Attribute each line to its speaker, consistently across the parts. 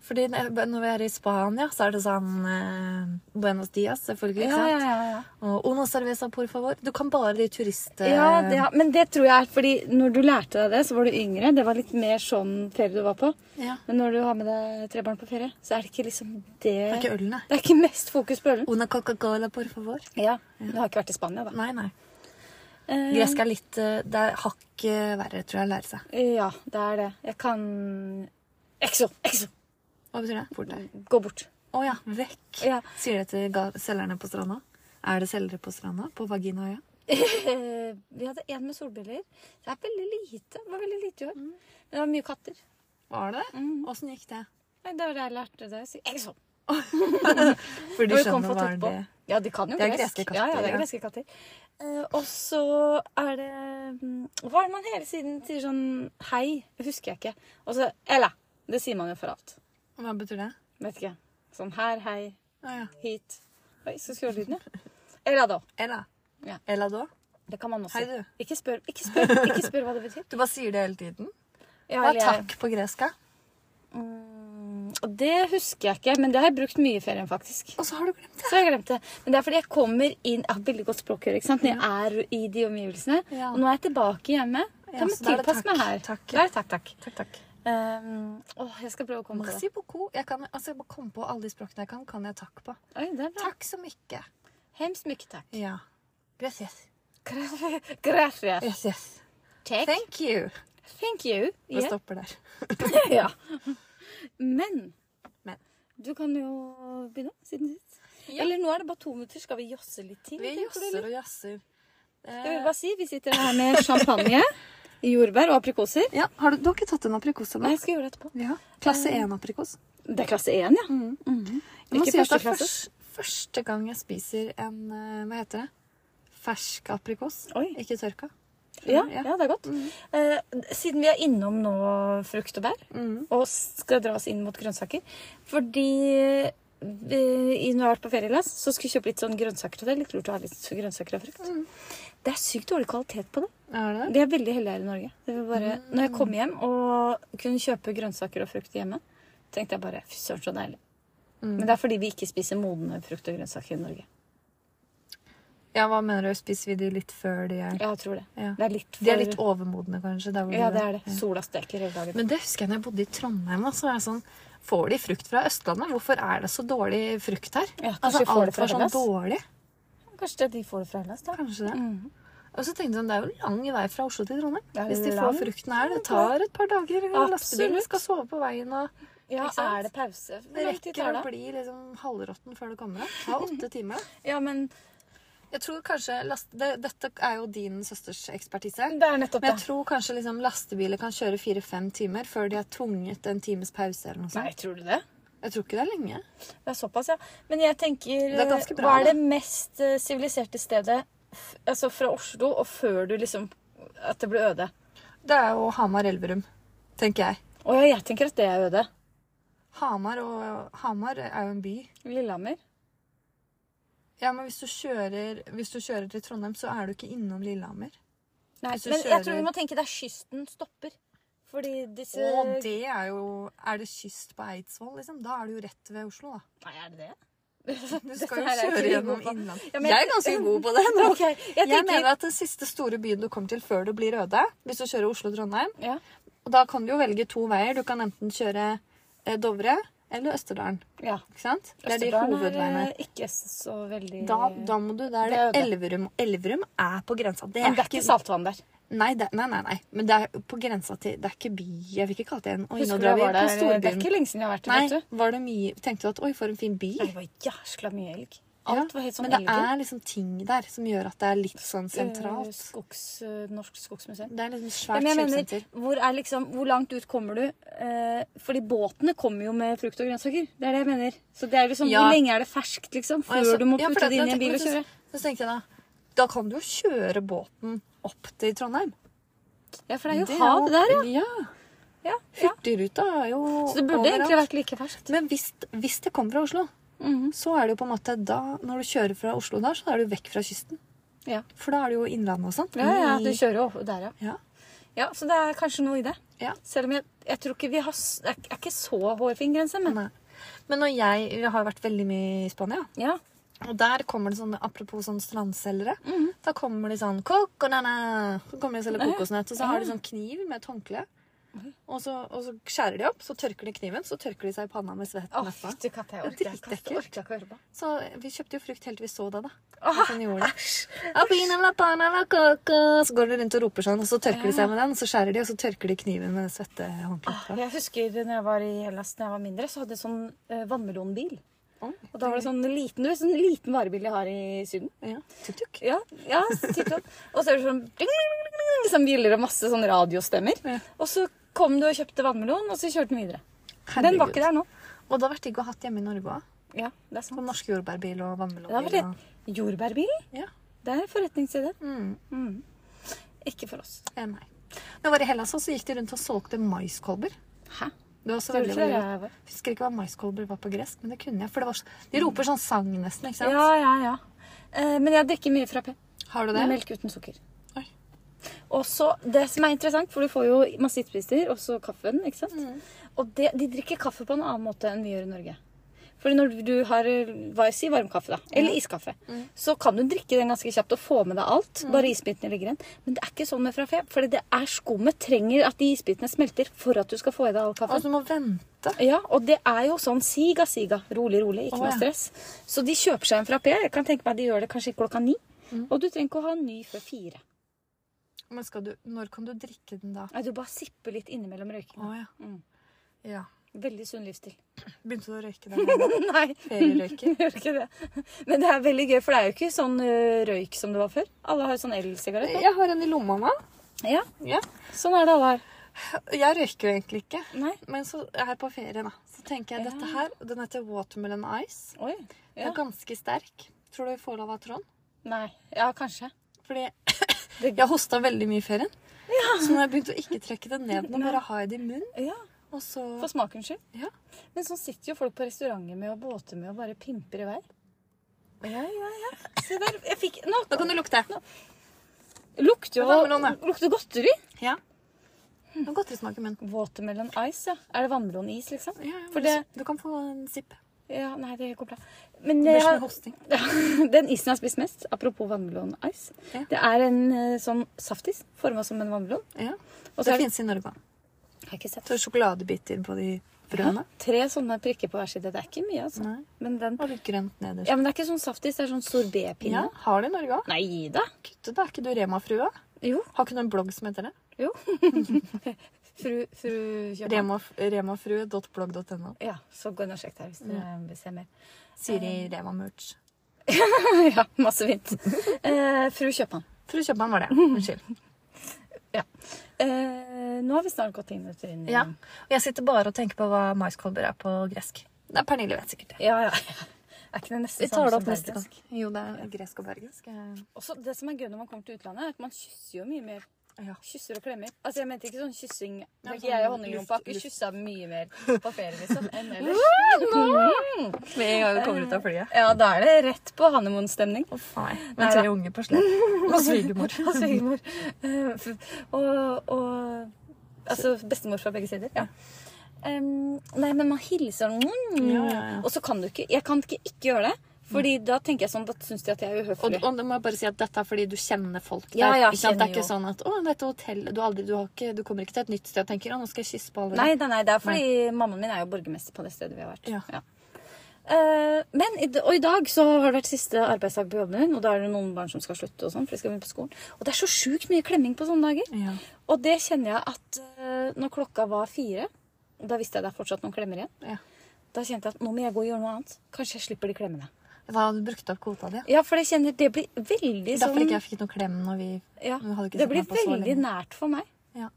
Speaker 1: Fordi når når vi er i Spania, så er det sånn eh, Buenos Dias, selvfølgelig. ikke
Speaker 2: Ja,
Speaker 1: sant?
Speaker 2: ja, ja, ja.
Speaker 1: Og Uno cerveza, por favor. Du kan bare de turist... eh,
Speaker 2: Ja, det, har- men det tror jeg er fordi når du lærte deg det, så var du yngre. Det var litt mer sånn ferie du var på.
Speaker 1: Ja.
Speaker 2: Men når du har med deg tre barn på ferie, så er det ikke liksom
Speaker 1: Det er
Speaker 2: det
Speaker 1: ikke ølen, nei.
Speaker 2: Det er ikke mest fokus på ølen.
Speaker 1: Una Coca-Cola, por favor.
Speaker 2: Ja, Du har ikke vært i Spania, da.
Speaker 1: Nei, nei.
Speaker 2: Eh,
Speaker 1: Gresk er litt eh, Det er hakk eh, verre, tror jeg, å lære seg.
Speaker 2: Ja, det er det. Jeg kan Exo! Exo!
Speaker 1: Hva betyr det? Fort deg.
Speaker 2: Gå bort.
Speaker 1: Å ja. Vekk.
Speaker 2: Ja.
Speaker 1: Sier det til ga- selgerne på stranda? Er det selgere på stranda? På Vaginaøya?
Speaker 2: Eh, Vi hadde en med solbriller. Det er veldig lite. Det var veldig lite i år. Men det var mye katter.
Speaker 1: Var det det?
Speaker 2: Mm.
Speaker 1: Åssen gikk det?
Speaker 2: Nei, Da jeg lærte det, så Exo!
Speaker 1: For de
Speaker 2: Og vi kom
Speaker 1: skjønner
Speaker 2: for
Speaker 1: hva
Speaker 2: tett
Speaker 1: er
Speaker 2: på.
Speaker 1: det
Speaker 2: Ja, de kan jo
Speaker 1: Det er
Speaker 2: gresk.
Speaker 1: greske katter,
Speaker 2: Ja, ja, det
Speaker 1: ja.
Speaker 2: er greske katter. Eh, og så er det mm, Hva er det man hele tiden sier sånn Hei, det husker jeg ikke. Og så Ella. Det sier man jo for alt.
Speaker 1: Hva betyr det?
Speaker 2: Vet ikke. Sånn her, hei,
Speaker 1: Å ja.
Speaker 2: hit. Oi, skal skru av lyden, ja. Ella da.
Speaker 1: Ella.
Speaker 2: Ja.
Speaker 1: Ella da?
Speaker 2: Det kan man også.
Speaker 1: Hei, du.
Speaker 2: Ikke spør, ikke spør, ikke spør hva det betyr.
Speaker 1: Du bare sier det hele tiden?
Speaker 2: Ja,
Speaker 1: Hva
Speaker 2: eller
Speaker 1: er
Speaker 2: jeg-
Speaker 1: takk på gresk? da?
Speaker 2: Mm, og det husker jeg ikke, men det har jeg brukt mye i ferien, faktisk.
Speaker 1: Og så har du glemt det.
Speaker 2: Så jeg glemte det. Men det er fordi jeg kommer inn Jeg har veldig godt språkhøre ikke sant? når jeg er i de omgivelsene.
Speaker 1: Ja.
Speaker 2: Og nå er jeg tilbake hjemme.
Speaker 1: Ja,
Speaker 2: Da må
Speaker 1: så da
Speaker 2: jeg
Speaker 1: er det
Speaker 2: tilpasse
Speaker 1: takk,
Speaker 2: meg her.
Speaker 1: takk.
Speaker 2: Da er det takk, takk.
Speaker 1: Takk, takk.
Speaker 2: Ehm, åh, jeg skal prøve å komme på det.
Speaker 1: Merci beaucoup. Jeg kan altså, jeg bare komme på alle de språkene jeg kan, kan jeg takk på.
Speaker 2: Oi, det er bra.
Speaker 1: Takk så mye.
Speaker 2: Hems mykke takk.
Speaker 1: Ja. Gracias.
Speaker 2: Gracias.
Speaker 1: Gracias.
Speaker 2: Take.
Speaker 1: Eh, Thank you.
Speaker 2: Thank you.
Speaker 1: Vi
Speaker 2: Yeah.
Speaker 1: stopper der.
Speaker 2: ja. Men,
Speaker 1: Men.
Speaker 2: du kan jo begynne siden sist.
Speaker 1: Ja.
Speaker 2: Eller nå er det bare to minutter. Skal vi josse litt ting?
Speaker 1: Vi
Speaker 2: tenker du, eller?
Speaker 1: jazzer og Eh, jazzer.
Speaker 2: Jeg vil bare si, vi sitter her med champagne, jordbær og aprikoser.
Speaker 1: Ja, har du, du har ikke tatt en aprikos
Speaker 2: Nei, Eh.
Speaker 1: ennå?
Speaker 2: jeg skal gjøre det etterpå. Mm.
Speaker 1: Ja. Klasse 1-aprikos.
Speaker 2: Det er klasse 1, ja.
Speaker 1: Jeg må
Speaker 2: Ikke
Speaker 1: si at det
Speaker 2: første
Speaker 1: er
Speaker 2: klasse.
Speaker 1: første, første gang jeg spiser en eh, Hva heter det? Fersk aprikos.
Speaker 2: Oi.
Speaker 1: Ikke tørka.
Speaker 2: Ja,
Speaker 1: Ja.
Speaker 2: ja, det er godt. Eh, siden vi er innom nå frukt og bær,
Speaker 1: Mm.
Speaker 2: og skal dra oss inn mot grønnsaker Fordi eh, i- når jeg har vært på ferie, i Hellas, så skulle jeg kjøpe litt sånn grønnsaker. Og det er litt lurt å ha litt grønnsaker og frukt. Det er sykt dårlig kvalitet på det.
Speaker 1: Er det det?
Speaker 2: Vi er veldig heldige her i Norge. Det var bare, Når jeg kom hjem og kunne kjøpe grønnsaker og frukt hjemme, tenkte jeg bare fy søren, så deilig. Men
Speaker 1: Mm.
Speaker 2: det er fordi vi ikke spiser modne frukt og grønnsaker i Norge.
Speaker 1: Ja, hva mener du? Spiser vi de litt før de er
Speaker 2: Ja, jeg tror det.
Speaker 1: Ja.
Speaker 2: Det er litt for
Speaker 1: De er litt overmodne, kanskje? Der hvor
Speaker 2: Ja,
Speaker 1: du
Speaker 2: det
Speaker 1: er.
Speaker 2: er det. Sola steker hele dagen.
Speaker 1: Men det husker jeg når jeg bodde i Trondheim. da, Så var jeg sånn, får de frukt fra Østlandet? Hvorfor er det så dårlig frukt her?
Speaker 2: Ja, kanskje
Speaker 1: altså,
Speaker 2: vi får det
Speaker 1: alt
Speaker 2: fra
Speaker 1: var sånn
Speaker 2: Hellas?
Speaker 1: dårlig.
Speaker 2: Kanskje de får det fra Hellas, da.
Speaker 1: Kanskje det. Og så tenkte jeg sånn, det er jo lang vei fra Oslo til Trondheim.
Speaker 2: Mm. Det er
Speaker 1: Hvis de
Speaker 2: lang-
Speaker 1: får frukten her. Det tar et par dager.
Speaker 2: Absolutt.
Speaker 1: Lastebilen skal sove på veien. og...
Speaker 2: Ja,
Speaker 1: Ikke sant?
Speaker 2: er det pause? Hvor
Speaker 1: Det
Speaker 2: lang tid
Speaker 1: rekker
Speaker 2: tar
Speaker 1: å
Speaker 2: det?
Speaker 1: bli liksom halvråtten før du kommer deg. Ta åtte timer. da.
Speaker 2: Ja, men
Speaker 1: Jeg tror kanskje last... det, Dette er jo din søsters ekspertise.
Speaker 2: det er nettopp
Speaker 1: Men
Speaker 2: det.
Speaker 1: jeg tror kanskje liksom lastebiler kan kjøre fire-fem timer før de er tvunget en times pause. eller noe
Speaker 2: Nei,
Speaker 1: sånt.
Speaker 2: tror du det?
Speaker 1: Jeg tror ikke det er lenge.
Speaker 2: Det er såpass, ja. Men jeg tenker
Speaker 1: Det er ganske bra,
Speaker 2: Hva er
Speaker 1: da.
Speaker 2: det mest eh, siviliserte stedet f altså fra Oslo og før du liksom At det ble øde?
Speaker 1: Det er jo Hamar-Elverum, tenker jeg.
Speaker 2: Å ja, jeg tenker at det er øde.
Speaker 1: Hamar, og, Hamar er jo en by.
Speaker 2: Lillehammer.
Speaker 1: Ja, men hvis du, kjører, hvis du kjører til Trondheim, så er du ikke innom Lillehammer.
Speaker 2: Nei,
Speaker 1: Hvis du
Speaker 2: men jeg tror
Speaker 1: kjører-
Speaker 2: vi må tenke der kysten stopper. Fordi disse
Speaker 1: Og det er jo Er det kyst på Eidsvoll, liksom? Da er du jo rett ved Oslo, da.
Speaker 2: Nei, er det det?
Speaker 1: Du
Speaker 2: Dette
Speaker 1: skal jo
Speaker 2: her er jeg
Speaker 1: kjøre
Speaker 2: ikke
Speaker 1: gjennom
Speaker 2: god på.
Speaker 1: innland.
Speaker 2: Ja, men-
Speaker 1: Jeg er ganske god på det. Nå.
Speaker 2: Ok, jeg
Speaker 1: Jeg,
Speaker 2: tenker-
Speaker 1: mener at den siste store byen du kommer til før du blir røde, hvis du kjører Oslo-Trondheim
Speaker 2: Ja.
Speaker 1: Og da kan du jo velge to veier. Du kan enten kjøre eh, Dovre eller Østerdalen.
Speaker 2: ja.
Speaker 1: Ikke sant? Det er de
Speaker 2: Østerdalen
Speaker 1: hovedveiene.
Speaker 2: eh, ikke så veldig
Speaker 1: Da, da må du der.
Speaker 2: Det er jo det.
Speaker 1: Elverum. Elverum er på grensa. Det
Speaker 2: Men det er ikke saltvann der.
Speaker 1: Nei, det, nei, nei, nei. Men det er på grensa til Det er ikke by. Jeg vil ikke kalle det en Oi, nå
Speaker 2: Husker du jeg
Speaker 1: drar vi eh,
Speaker 2: var
Speaker 1: på
Speaker 2: der? Det er
Speaker 1: storbyen.
Speaker 2: ikke lenge siden jeg har vært der,
Speaker 1: Nei,
Speaker 2: vet du.
Speaker 1: var det mye Tenkte du at oi, for en fin by?
Speaker 2: Nei, Det var jæskla mye elg. Alt var helt sånn
Speaker 1: Men det
Speaker 2: elegant.
Speaker 1: er liksom ting der som gjør at det er litt sånn
Speaker 2: Eh,
Speaker 1: sentralt.
Speaker 2: Skogs, eh, norsk skogsmuseum.
Speaker 1: Det er liksom
Speaker 2: Ja,
Speaker 1: svært
Speaker 2: men jeg mener,
Speaker 1: kjøpesenter.
Speaker 2: hvor, er liksom, hvor langt ut kommer du? Eh, fordi båtene kommer jo med frukt og grønnsaker. Det er det jeg mener. Så det er liksom,
Speaker 1: Ja.
Speaker 2: Hvor lenge er det ferskt liksom, før
Speaker 1: Altså,
Speaker 2: du må
Speaker 1: ja, for
Speaker 2: putte det
Speaker 1: da-
Speaker 2: inn i
Speaker 1: da
Speaker 2: en bil og
Speaker 1: tenker jeg
Speaker 2: kjøre?
Speaker 1: faktisk- Så tenkte jeg da Da kan du jo kjøre båten opp til Trondheim.
Speaker 2: Ja, for det er jo
Speaker 1: Det er
Speaker 2: hav
Speaker 1: jo-
Speaker 2: der, ja.
Speaker 1: ja.
Speaker 2: ja, ja.
Speaker 1: Hurtigruta er jo
Speaker 2: Så det burde egentlig vært like ferskt.
Speaker 1: Men hvis, hvis det kommer fra Oslo,
Speaker 2: Mhm.
Speaker 1: så er det jo på en måte da Når du kjører fra Oslo der, så er du vekk fra kysten.
Speaker 2: Ja.
Speaker 1: For da er det jo innlandet og sånn. Mm. sånt.
Speaker 2: Ja, ja, du
Speaker 1: I-
Speaker 2: kjører jo opp der, ja.
Speaker 1: ja.
Speaker 2: ja. Så det er kanskje noe i det.
Speaker 1: Ja.
Speaker 2: Selv om jeg, jeg tror ikke vi har s- Det er er ikke så hårfin grense, men
Speaker 1: Nei. Men når jeg, jeg har vært veldig mye i Spania,
Speaker 2: ja.
Speaker 1: og der kommer det sånn Apropos sånn strandselgere.
Speaker 2: Mhm.
Speaker 1: Da kommer de sånn Kokonana! Så kommer de og selger kokosnøtt. Og så har de sånn kniv med et håndkle. Og så, og så skjærer de opp, så tørker de kniven, så tørker de seg i panna med svett.
Speaker 2: Å,
Speaker 1: neffa.
Speaker 2: fytti katta, jeg orker
Speaker 1: Det
Speaker 2: ikke
Speaker 1: er
Speaker 2: jeg
Speaker 1: dritekkelt.
Speaker 2: orker ikke å høre på.
Speaker 1: Så vi kjøpte jo frukt helt til vi så det, da.
Speaker 2: Åh,
Speaker 1: Sånn gjorde de. Apina la pana la coco. Så går de rundt og roper sånn, og så tørker de seg med den, og så skjærer de, og så tørker de kniven med
Speaker 2: Ah,
Speaker 1: svettehåndkleet.
Speaker 2: Jeg husker når jeg var i Hellas da jeg var mindre, så hadde jeg sånn eh, vannmelonbil.
Speaker 1: Oi.
Speaker 2: Og da var det sånn liten, du vet, sånn liten varebil de har i Syden.
Speaker 1: Ja. Tuk-tuk.
Speaker 2: Ja, ja tipp topp. Og så er det sånn ding, ding, ding, ding, ding, liksom biler og masse sånn radiostemmer.
Speaker 1: Ja.
Speaker 2: Og så kom du og kjøpte vannmelon, og så kjørte den videre. Den var ikke der nå.
Speaker 1: Og det har vært digg å ha hatt hjemme i Norge òg.
Speaker 2: Ja, det er
Speaker 1: På
Speaker 2: sant.
Speaker 1: norsk jordbærbil og
Speaker 2: Det har
Speaker 1: vannmelonbil.
Speaker 2: vært det. Jordbærbilen,
Speaker 1: og- Ja.
Speaker 2: det er forretningsside.
Speaker 1: Mm.
Speaker 2: Ikke for oss.
Speaker 1: Eh, nei. Når jeg var i Hellas, også, så gikk de rundt og solgte maiskolber.
Speaker 2: Hæ?
Speaker 1: Det var også
Speaker 2: Gjorde
Speaker 1: veldig,
Speaker 2: ikke det
Speaker 1: veldig...
Speaker 2: jeg var?
Speaker 1: Jeg husker ikke hva maiskolber var på gresk, men det kunne jeg. For det var... så- De roper sånn sang nesten, ikke sant?
Speaker 2: Ja, ja, ja. Eh, Men jeg drikker mye frappé.
Speaker 1: Har du det?
Speaker 2: Med melk uten sukker.
Speaker 1: Oi.
Speaker 2: Og så Det som er interessant, for du får jo masse utspiser, og så kaffen. ikke sant?
Speaker 1: Mm.
Speaker 2: Og det, de drikker kaffe på en annen måte enn vi gjør i Norge. Fordi når du har eh, hva jeg sier, varmkaffe, da, eller iskaffe,
Speaker 1: Mm.
Speaker 2: så kan du drikke den ganske kjapt og få med deg alt. Bare isbitene ligger igjen. Men det er ikke sånn med frappé. For det er skummet trenger at de isbitene smelter for at du skal få i deg all kaffen.
Speaker 1: Og du må vente.
Speaker 2: Ja, og det er jo sånn siga, siga. Rolig, rolig. Ikke
Speaker 1: Å,
Speaker 2: noe
Speaker 1: ja.
Speaker 2: stress. Så de kjøper seg en frappé. Jeg kan tenke meg de gjør det kanskje klokka ni. Og du trenger ikke å ha en ny før fire.
Speaker 1: Men skal du... Når kan du drikke den da?
Speaker 2: Nei, Du bare sipper litt innimellom
Speaker 1: Å
Speaker 2: røykinga.
Speaker 1: ja.
Speaker 2: Mm.
Speaker 1: ja.
Speaker 2: Veldig sunn livsstil.
Speaker 1: Begynte du å røyke den gangen?
Speaker 2: Nei,
Speaker 1: Ferierøyker?
Speaker 2: gjør ikke det. Men det er veldig gøy, for det er jo ikke sånn ø, røyk som det var før. Alle har jo sånn elsigarett. nå.
Speaker 1: Jeg har en i lomma nå.
Speaker 2: Ja,
Speaker 1: Ja.
Speaker 2: sånn er det alle har.
Speaker 1: Jeg røyker jo egentlig ikke.
Speaker 2: Nei.
Speaker 1: Men så er jeg på ferie, da. Så tenker jeg dette her, og den heter Watermelon Ice.
Speaker 2: Oi.
Speaker 1: Den
Speaker 2: Ja.
Speaker 1: er ganske sterk. Tror du vi får lov av Trond?
Speaker 2: Nei. Ja, kanskje.
Speaker 1: Fordi jeg hosta veldig mye i ferien. Så nå har jeg begynt å ikke trekke det ned. Nå bare har jeg det i munnen.
Speaker 2: Ja,
Speaker 1: Og så
Speaker 2: For smakens skyld.
Speaker 1: Ja.
Speaker 2: Men sånn sitter jo folk på restauranter med og båter med og bare pimper i vei. Ja, ja, ja. Se der. Jeg fikk Nå
Speaker 1: Da kan du lukte.
Speaker 2: lukter
Speaker 1: Det var
Speaker 2: jo
Speaker 1: vannmelon,
Speaker 2: lukter godteri.
Speaker 1: Ja.
Speaker 2: Hm.
Speaker 1: Det var godterismak i munnen.
Speaker 2: Watermelon ice, ja. Er det vannmelonis, liksom?
Speaker 1: Ja, ja,
Speaker 2: For
Speaker 1: men
Speaker 2: det-
Speaker 1: så- Du kan få en sipp.
Speaker 2: Ja, Nei, det går bra. Men
Speaker 1: Det blir
Speaker 2: jeg
Speaker 1: som
Speaker 2: har-
Speaker 1: en hosting.
Speaker 2: Ja, Den isen jeg har spist mest, apropos vannmelon ice,
Speaker 1: Ja.
Speaker 2: det er en eh, sånn saftis forma som en vannmelon.
Speaker 1: Ja.
Speaker 2: Og så
Speaker 1: Det
Speaker 2: er det,
Speaker 1: finnes i Norge òg.
Speaker 2: har jeg ikke sett.
Speaker 1: Så sjokoladebiter på de brødene.
Speaker 2: Tre sånne prikker på hver side. Det er ikke mye, altså.
Speaker 1: Nei.
Speaker 2: Men, den,
Speaker 1: Og litt grønt nederst.
Speaker 2: ja, men det er ikke sånn saftis, det er sånn sorbetpinne.
Speaker 1: Ja, har det i Norge òg.
Speaker 2: Nei da.
Speaker 1: Kutte, da. Er ikke du Rema-frua?
Speaker 2: Jo.
Speaker 1: Har ikke du en blogg som heter det?
Speaker 2: Jo. fru fru Kjøpmann.
Speaker 1: Rema- Remafrue.blogg.no.
Speaker 2: Ja, så gå inn og sjekk der hvis dere vil se mer.
Speaker 1: Siri Rema-merch.
Speaker 2: ja, masse fint. Eh, fru Kjøpmann.
Speaker 1: Fru Kjøpmann var det. Unnskyld.
Speaker 2: Ja. Eh, nå har vi snart gått ti minutter inn i
Speaker 1: Ja. Og jeg sitter bare og tenker på hva maiskolber er på gresk. Nei, Pernille vet sikkert det.
Speaker 2: ja, ja. Er ikke det nesten
Speaker 1: Vi tar det
Speaker 2: samme
Speaker 1: opp
Speaker 2: som
Speaker 1: neste gang.
Speaker 2: bergensk?
Speaker 1: Jo, det er gresk og bergensk. eh,
Speaker 2: Også det som er gøy når man kommer til utlandet, er at man kysser jo mye mer.
Speaker 1: Ja.
Speaker 2: Kysser og klemmer. Altså, jeg mente ikke sånn kyssing. Det er
Speaker 1: sånn
Speaker 2: ikke jeg og honningrumpa har
Speaker 1: luft-
Speaker 2: ikke
Speaker 1: luft.
Speaker 2: kyssa mye mer på ferie liksom, enn ellers.
Speaker 1: Med en gang vi kommer ut av flyet.
Speaker 2: Ja, da er det rett på honeymoon-stemning.
Speaker 1: Å, faen.
Speaker 2: Nei
Speaker 1: Med tre
Speaker 2: da.
Speaker 1: unger på slep. Og svigermor.
Speaker 2: Og svigermor. Altså, Eh, f- Og, og Altså bestemor fra begge sider. Ja. Em, nei, men man hilser mm.
Speaker 1: Ja, ja, ja.
Speaker 2: Og så kan du ikke Jeg kan ikke ikke gjøre det. Fordi da tenker jeg sånn, da syns de at jeg er
Speaker 1: Og,
Speaker 2: uhøflig.
Speaker 1: og da må jeg bare si at dette er fordi du kjenner folk der.
Speaker 2: Ja, ja,
Speaker 1: ikke sant? Det er
Speaker 2: kjenner
Speaker 1: ikke sånn at å, dette hotellet du, aldri, du, har ikke, du kommer ikke til et nytt sted og tenker å, nå skal jeg kysse på alle.
Speaker 2: Nei, nei, nei, det er fordi mammaen min er jo borgermester på det stedet vi har vært.
Speaker 1: Ja.
Speaker 2: Eh, men i, d- og i dag så har det vært siste arbeidsdag på jobben min, og da er det noen barn som skal slutte. Og sånn, for de skal begynne på skolen. Og det er så sjukt mye klemming på sånne dager.
Speaker 1: Ja.
Speaker 2: Og det kjenner jeg at eh, når klokka var fire, og da visste jeg det er fortsatt noen klemmer igjen,
Speaker 1: Ja.
Speaker 2: da kjente jeg at nå må jeg gå og gjøre noe annet. Kanskje jeg slipper de klemmene.
Speaker 1: Ja, Da hadde du brukt opp kvota di.
Speaker 2: Ja, for jeg kjenner det blir veldig sånn
Speaker 1: Derfor ikke jeg fikk noe klem når vi
Speaker 2: ja,
Speaker 1: vi hadde ikke
Speaker 2: Det
Speaker 1: sett
Speaker 2: blir
Speaker 1: meg på så
Speaker 2: veldig
Speaker 1: lenge.
Speaker 2: nært for meg.
Speaker 1: Ja.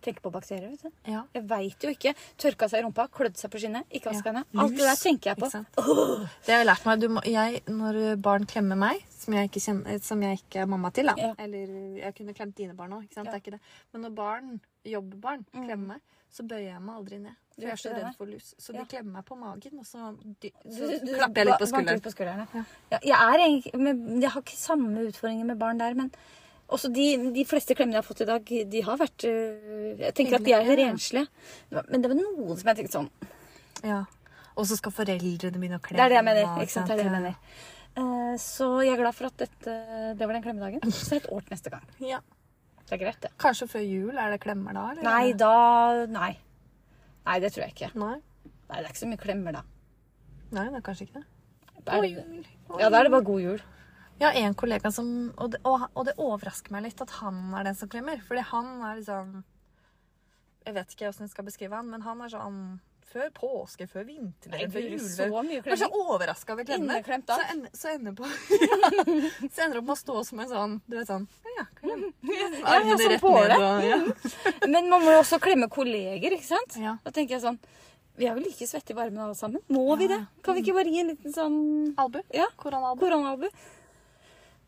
Speaker 2: Jeg tenker på bakterier. vet du.
Speaker 1: Ja.
Speaker 2: Jeg veit jo ikke. Tørka seg i rumpa, klødde seg på skinnet, ikke vaska
Speaker 1: Ja.
Speaker 2: henne. Alt det der
Speaker 1: Lus,
Speaker 2: tenker jeg på.
Speaker 1: ikke sant? Det har jeg lært meg. Du må, jeg, når barn klemmer meg, som jeg ikke, kjenner, som jeg ikke er mamma til da.
Speaker 2: Ja.
Speaker 1: Eller jeg kunne klemt dine barn òg.
Speaker 2: Ja. Mm.
Speaker 1: Men når barn, jobbbarn klemmer meg, så bøyer jeg meg aldri ned.
Speaker 2: Du
Speaker 1: For jeg er
Speaker 2: gjør
Speaker 1: så
Speaker 2: ikke det, nei.
Speaker 1: redd for lus. Så
Speaker 2: Ja.
Speaker 1: de klemmer meg på magen, og så, dy-
Speaker 2: Du-
Speaker 1: så
Speaker 2: du-
Speaker 1: klapper jeg
Speaker 2: ba- banker
Speaker 1: litt på
Speaker 2: litt
Speaker 1: skulderen.
Speaker 2: på skulderen. Ja.
Speaker 1: Ja.
Speaker 2: Ja, jeg, er egentlig, men jeg har ikke samme utfordringer med barn der, men også de, de fleste klemmene jeg har fått i dag, de har vært øh, Jeg tenker at de er
Speaker 1: Hyggelige, ja.
Speaker 2: renslige. Men det var noen som jeg tenkte sånn
Speaker 1: Ja. Og så skal foreldrene begynne å klemme.
Speaker 2: Det er det jeg mener.
Speaker 1: og-
Speaker 2: ikke sant? Det er det jeg mener. Eh, Så jeg er glad for at dette, det var den klemmedagen. Så er det et år til neste gang.
Speaker 1: Ja.
Speaker 2: Det er greit, det.
Speaker 1: Kanskje før jul? Er det klemmer da? eller?
Speaker 2: Nei, da Nei. Nei, det tror jeg ikke.
Speaker 1: Nei.
Speaker 2: Nei, Det er ikke så mye klemmer da.
Speaker 1: Nei, det er kanskje ikke det.
Speaker 2: Er
Speaker 1: God
Speaker 2: det-
Speaker 1: jul.
Speaker 2: Ja, da er det bare god jul.
Speaker 1: Jeg har en kollega som og det, og, og det overrasker meg litt at han er den som klemmer. Fordi han er liksom Jeg vet ikke åssen jeg skal beskrive han, men han er sånn før påske, før vinter,
Speaker 2: Nei,
Speaker 1: eller før
Speaker 2: det er så
Speaker 1: jul.
Speaker 2: mye
Speaker 1: Jeg er så
Speaker 2: klemming.
Speaker 1: overraska over klemmene.
Speaker 2: Inneklemt
Speaker 1: Så,
Speaker 2: alt.
Speaker 1: ender- så ender på Så ender det opp med å stå som en sånn Du vet sånn Ja, ja, klem. Armene
Speaker 2: sånn
Speaker 1: rett
Speaker 2: påle.
Speaker 1: ned og ja.
Speaker 2: Men man må jo også klemme kolleger, ikke sant?
Speaker 1: Ja.
Speaker 2: Da tenker jeg sånn Vi er jo like svette i varmen alle sammen. Må vi
Speaker 1: Ja. mm.
Speaker 2: det? Kan vi ikke bare gi en liten sånn
Speaker 1: Albu.
Speaker 2: Ja.
Speaker 1: Koronaalbu.
Speaker 2: koronaalbu?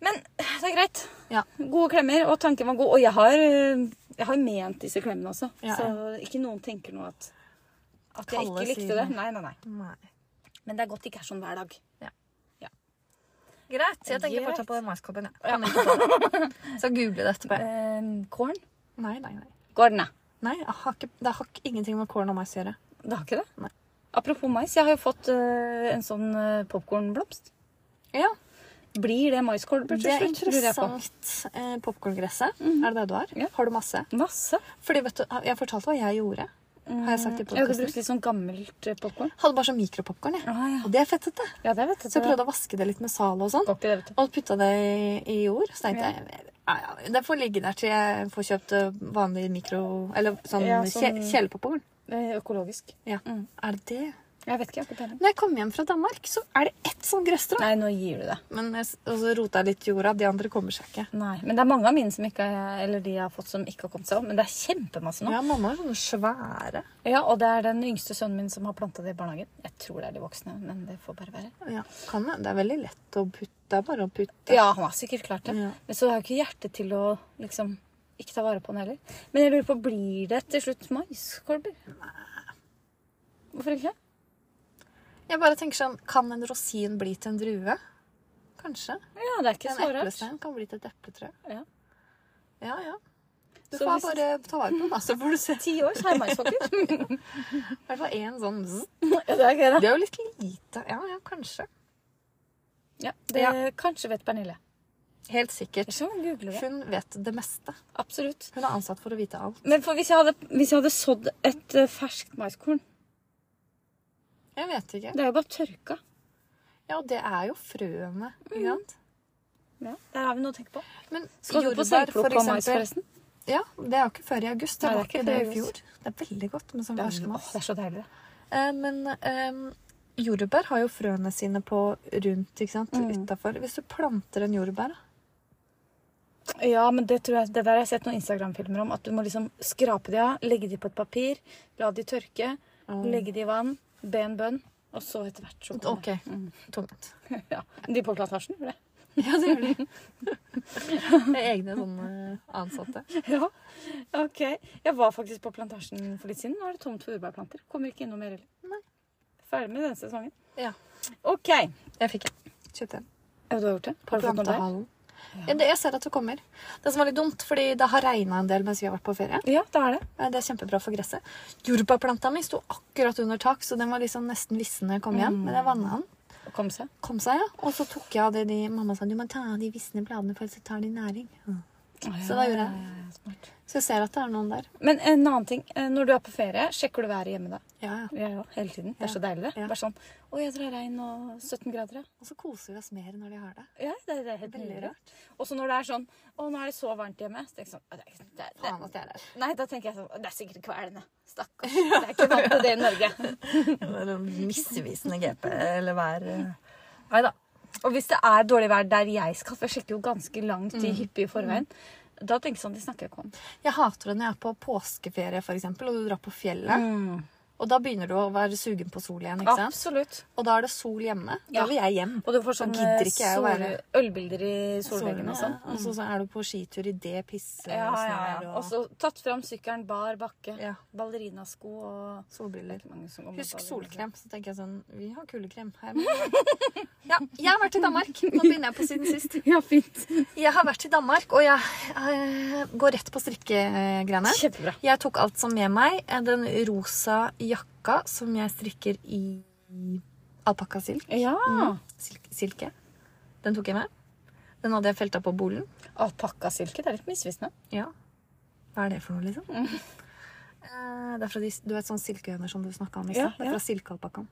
Speaker 2: Men det er greit.
Speaker 1: Ja.
Speaker 2: Gode klemmer, og tanken var god. Og jeg har, øh, jeg har ment disse klemmene også,
Speaker 1: Ja,
Speaker 2: så ikke noen tenker nå at, at jeg
Speaker 1: Kalle
Speaker 2: ikke likte
Speaker 1: sier
Speaker 2: det.
Speaker 1: det.
Speaker 2: Nei, nei, nei.
Speaker 1: Nei.
Speaker 2: Men det er godt det ikke er sånn hver dag.
Speaker 1: Greit. Jeg tenker
Speaker 2: Greit.
Speaker 1: fortsatt på den maiskoppen. jeg. Kan ikke ta den. Så google det etterpå.
Speaker 2: Ehm, korn?
Speaker 1: Nei, nei, nei.
Speaker 2: Korn, ja.
Speaker 1: Nei, jeg har ikke, Det har ikke ingenting med korn og mais å gjøre.
Speaker 2: Det har ikke det.
Speaker 1: Nei.
Speaker 2: Apropos mais, jeg har jo fått øh, en sånn øh, popkornblomst.
Speaker 1: Ja,
Speaker 2: Blir det maiskorn?
Speaker 1: Det er
Speaker 2: lurer jeg på.
Speaker 1: interessant. Eh, Popkorngresset, er det det du har?
Speaker 2: Mhm. Ja.
Speaker 1: Har du masse?
Speaker 2: Masse.
Speaker 1: Fordi vet du, Jeg fortalte hva jeg gjorde. Har jeg sagt i
Speaker 2: Jeg hadde brukt
Speaker 1: podkasten?
Speaker 2: litt sånn gammelt popkorn.
Speaker 1: Hadde bare sånn mikropopkorn. jeg.
Speaker 2: Ah, ja.
Speaker 1: Og det er fettete.
Speaker 2: ja, det vet jeg.
Speaker 1: Så jeg prøvde å vaske det litt med sal og sånn.
Speaker 2: Går ikke det, vet du.
Speaker 1: Og putta det i- i jord. Så tenkte
Speaker 2: Ja.
Speaker 1: jeg ja, ja, det får ligge der til jeg får kjøpt eh, vanlig mikro... Eller sånn,
Speaker 2: Ja,
Speaker 1: ja,
Speaker 2: sånn-
Speaker 1: kjelepopkorn.
Speaker 2: Det er Økologisk.
Speaker 1: Ja.
Speaker 2: Mm.
Speaker 1: Er det det?
Speaker 2: Jeg vet ikke. jeg har ikke peiling.
Speaker 1: Når jeg kom hjem fra Danmark, så er det ett sånt grøsstrå.
Speaker 2: Nei, nå gir du det.
Speaker 1: Men jeg, s- og så rota jeg litt i jorda. De andre kommer seg ikke.
Speaker 2: Nei, Men det er mange av mine som ikke, er- eller de jeg har fått som ikke har kommet seg om. Men det er kjempemasse nå.
Speaker 1: Ja, mamma er sånne svære.
Speaker 2: Ja. Og det er den yngste sønnen min som har planta det i barnehagen. Jeg tror det er de voksne, men det får bare være.
Speaker 1: Ja, kan det. Det er veldig lett å putte. Det er bare å putte.
Speaker 2: Ja, han har sikkert klart det.
Speaker 1: Ja.
Speaker 2: Men så har jeg ikke hjerte til å liksom ikke ta vare på den heller. Men jeg lurer på, blir det til slutt maiskolber? Hvorfor ikke?
Speaker 1: Jeg bare tenker sånn, kan en rosin bli til en drue? Kanskje.
Speaker 2: Ja, det er ikke
Speaker 1: En
Speaker 2: så rart.
Speaker 1: eplestein kan bli til et epletre.
Speaker 2: Ja.
Speaker 1: Ja, ja. Du
Speaker 2: Så
Speaker 1: får
Speaker 2: hvis-
Speaker 1: bare ta vare på den, da, så får du se.
Speaker 2: Ti år, så har jeg maissokker.
Speaker 1: I hvert fall én sånn zzz.
Speaker 2: ja, det er gøy, da.
Speaker 1: Det er jo litt lite. Ja, ja, kanskje.
Speaker 2: Ja, det
Speaker 1: Ja.
Speaker 2: kanskje vet Pernille.
Speaker 1: Helt sikkert.
Speaker 2: Ellers så sånn googler vi.
Speaker 1: Hun vet det meste.
Speaker 2: Absolutt.
Speaker 1: Hun er ansatt for å vite alt.
Speaker 2: Men for hvis jeg hadde, hvis jeg hadde sådd et eh, ferskt maiskorn
Speaker 1: Jeg vet ikke.
Speaker 2: Det er jo bare tørka.
Speaker 1: Ja, og det er jo frøene. Ikke sant?
Speaker 2: Ja, der har vi noe å tenke på.
Speaker 1: Men
Speaker 2: Skal du på
Speaker 1: jordbær, for
Speaker 2: selvplukk av mais,
Speaker 1: eksempel-
Speaker 2: forresten?
Speaker 1: Ja, det er jo ikke før i august. Det
Speaker 2: Nei,
Speaker 1: var ikke det i fjor. Det er veldig godt med
Speaker 2: Mm.
Speaker 1: sånn
Speaker 2: Åh,
Speaker 1: fersk mais.
Speaker 2: det er så deilig.
Speaker 1: Eh, Men ehm, jordbær har jo frøene sine på rundt, ikke sant? Utenfor. Hvis du planter en jordbær, da.
Speaker 2: Ja, men det tror jeg, det der har jeg sett noen Instagram-filmer om. At du må liksom skrape de av, legge de på et papir, la de tørke, legge de i vann, be en bønn, og så etter hvert så kommer
Speaker 1: Ok, tungt.
Speaker 2: ja. De på plantasjen, gjorde det.
Speaker 1: Mm. Ja, det gjør de. Det er egne sånne ansatte.
Speaker 2: Ja, ok. Jeg var faktisk på plantasjen for litt siden. Nå er det tomt for jordbærplanter. Kommer ikke innom mer heller.
Speaker 1: Nei.
Speaker 2: Ferdig med denne sesongen.
Speaker 1: Ja.
Speaker 2: Ok. Ja,
Speaker 1: Jeg fikk en. Kjøpte en.
Speaker 2: du har gjort det? Har du fått noen der?
Speaker 1: Plantehallen. Ja, det, jeg ser at det kommer. Det som var litt dumt, fordi det har regna en del mens vi har vært på ferie.
Speaker 2: Ja, det er det.
Speaker 1: Eh, Det er kjempebra for gresset. Jordbærplanta mi sto akkurat under tak, så den var liksom nesten vissen når jeg kom hjem. Men jeg vanna den.
Speaker 2: Å komme seg.
Speaker 1: Kom seg, ja. Og så tok jeg av det de Mamma sa du må ta av de visne bladene, for ellers så tar de næring. Så da gjorde jeg det.
Speaker 2: Ja, smart.
Speaker 1: Så jeg ser at det er noen der.
Speaker 2: Men en annen ting. eh, Når du er på ferie, sjekker du været hjemme da?
Speaker 1: Ja, ja.
Speaker 2: Ja, ja, hele tiden. Det er
Speaker 1: Ja.
Speaker 2: så deilig, det.
Speaker 1: Ja.
Speaker 2: Bare sånn Å, jeg tror det er regn og 17 grader, ja.
Speaker 1: Og så koser vi oss mer når de har det.
Speaker 2: Ja, det, det er helt
Speaker 1: Veldig
Speaker 2: nydelig.
Speaker 1: rart.
Speaker 2: Og så når det er sånn Å, nå er det så varmt hjemme. Så tenker jeg sånn «Å, det, er ikke- det, er-
Speaker 1: Faen at jeg er der.
Speaker 2: det, Nei, da tenker jeg sånn Det er sikkert kvelene. Stakkars. Det er ikke vant til det i Norge.
Speaker 1: Det er en misvisende GP eller vær. Nei da.
Speaker 2: eh, Og hvis det er dårlig vær der jeg skal, for jeg sjekker jo ganske langt
Speaker 1: Mm.
Speaker 2: i hyppig i forveien, da tenker jeg sånn, de snakker jeg ikke om.
Speaker 1: Jeg hater det når jeg er på påskeferie, for eksempel, og du drar på fjellet.
Speaker 2: Mm.
Speaker 1: Og da begynner du å være sugen på sol igjen, ikke sant?
Speaker 2: Absolutt.
Speaker 1: Og da er det sol hjemme. Da
Speaker 2: Ja.
Speaker 1: vil jeg hjem.
Speaker 2: Og du får sånne
Speaker 1: gidder ikke jeg å
Speaker 2: sol-
Speaker 1: være-
Speaker 2: ølbilder i solveggen og sånn.
Speaker 1: Ja, Og så så er du på skitur i det pisset
Speaker 2: Ja,
Speaker 1: og
Speaker 2: ja,
Speaker 1: snør
Speaker 2: ja.
Speaker 1: og
Speaker 2: Og så tatt fram sykkelen, bar bakke,
Speaker 1: Ja.
Speaker 2: ballerinasko og
Speaker 1: solbriller.
Speaker 2: Ikke mange som går med
Speaker 1: Husk
Speaker 2: ballerinasko.
Speaker 1: solkrem. Så tenker jeg sånn Vi har kuldekrem her. må vi ha. Ja, jeg har vært i Danmark. Nå begynner jeg på siden sist.
Speaker 2: Ja, fint.
Speaker 1: Jeg har vært i Danmark, og jeg eh, går rett på strikkegreiene.
Speaker 2: Kjempebra.
Speaker 1: Jeg tok alt som med meg. eh, Den rosa jakka som jeg strikker i alpakkasilk.
Speaker 2: Ja.
Speaker 1: Mm. Silk, silke. Den tok jeg med. Den hadde jeg felta på bolen.
Speaker 2: Alpakkasilke, det er litt misvisende.
Speaker 1: Ja. Hva er det for noe, liksom?
Speaker 2: Mm.
Speaker 1: Eh, Det er fra de, du vet sånne silkehøner som du snakka om i
Speaker 2: Ja,
Speaker 1: stad? Det
Speaker 2: ja.
Speaker 1: er fra silkealpakkaen.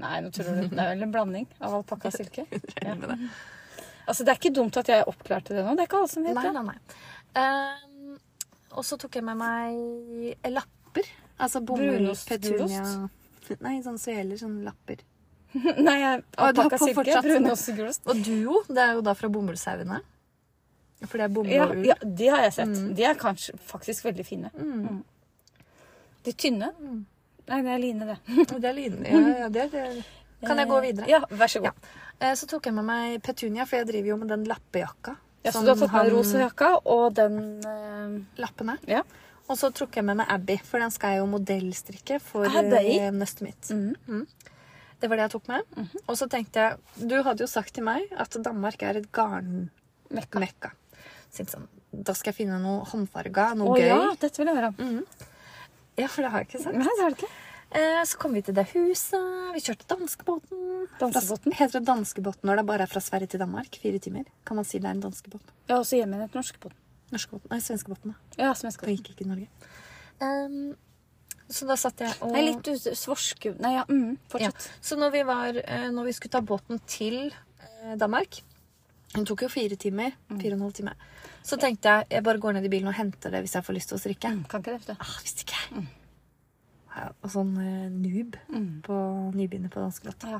Speaker 2: Nei, nå tror du det er vel en blanding av alpakkasilke.
Speaker 1: Regner med det.
Speaker 2: Altså, det er ikke dumt at jeg oppklarte det nå. Det er ikke alle som vet
Speaker 1: Nei,
Speaker 2: det.
Speaker 1: nei, nei. Ehm, og så tok jeg med meg eh, lapper. Altså bomull,
Speaker 2: Brunost,
Speaker 1: petunia Nei, sånn sveler. Sånne lapper.
Speaker 2: Nei, jeg-
Speaker 1: Å, du har på
Speaker 2: alpakkasilke,
Speaker 1: fortsatt. sånn
Speaker 2: brunost og gulost.
Speaker 1: Og duo, det er jo da fra bomullsauene. For det er bomull
Speaker 2: Ja,
Speaker 1: og ull.
Speaker 2: ja, de har jeg sett.
Speaker 1: Mm.
Speaker 2: De er kanskje faktisk veldig fine. Mm. De tynne?
Speaker 1: Mm.
Speaker 2: Nei, det er line, det.
Speaker 1: Det er lin. Ja, ja, det, det. Kan jeg gå videre?
Speaker 2: Ja, vær så god.
Speaker 1: Ja. Eh, Så tok jeg med meg petunia, for jeg driver jo med den lappejakka.
Speaker 2: Ja, så
Speaker 1: som
Speaker 2: du har tatt med
Speaker 1: han-
Speaker 2: den rosa jakka og den eh,
Speaker 1: lappene.
Speaker 2: Ja.
Speaker 1: Og så tok jeg med meg Abby, for den skal jeg jo modellstrikke for
Speaker 2: Ah, deg?
Speaker 1: eh, nøstet mitt. Mhm. Det var det jeg tok med. Og så tenkte jeg Du hadde jo sagt til meg at Danmark er et garnmekka.
Speaker 2: mekka.
Speaker 1: Så jeg tenkte sånn, da skal jeg finne noe håndfarga, noe
Speaker 2: Å
Speaker 1: gøy. Mm.
Speaker 2: ja,
Speaker 1: Ja.
Speaker 2: dette vil jeg høre om.
Speaker 1: for det har jeg ikke sagt.
Speaker 2: Nei, det har du ikke.
Speaker 1: Eh, så kom vi til det huset. Vi kjørte danskebåten.
Speaker 2: Danskebåten?
Speaker 1: Fra- Heter det danskebåten når det bare er fra Sverige til Danmark? Fire timer? Kan man si det er en danskebåt?
Speaker 2: Jeg har også hjemme igjen et norsk på den.
Speaker 1: Norskebåten? Nei, svenskebåten. da.
Speaker 2: Ja, som jeg skal
Speaker 1: Den gikk ikke i Norge. Ehm, så da satt jeg og
Speaker 2: Nei, litt ute- svorske... Nei, ja, mm, fortsett.
Speaker 1: Ja. Så når vi, var, eh, når vi skulle ta båten til eh, Danmark Det tok jo fire timer. Fire og en halv time. Så tenkte jeg jeg bare går ned i bilen og henter det hvis jeg får lyst til å strikke.
Speaker 2: Mm, Kan ikke det, vet du.
Speaker 1: Ah, visste ikke jeg. Ja, Og sånn eh, noob på nybegynner på dansk låt.
Speaker 2: Ja.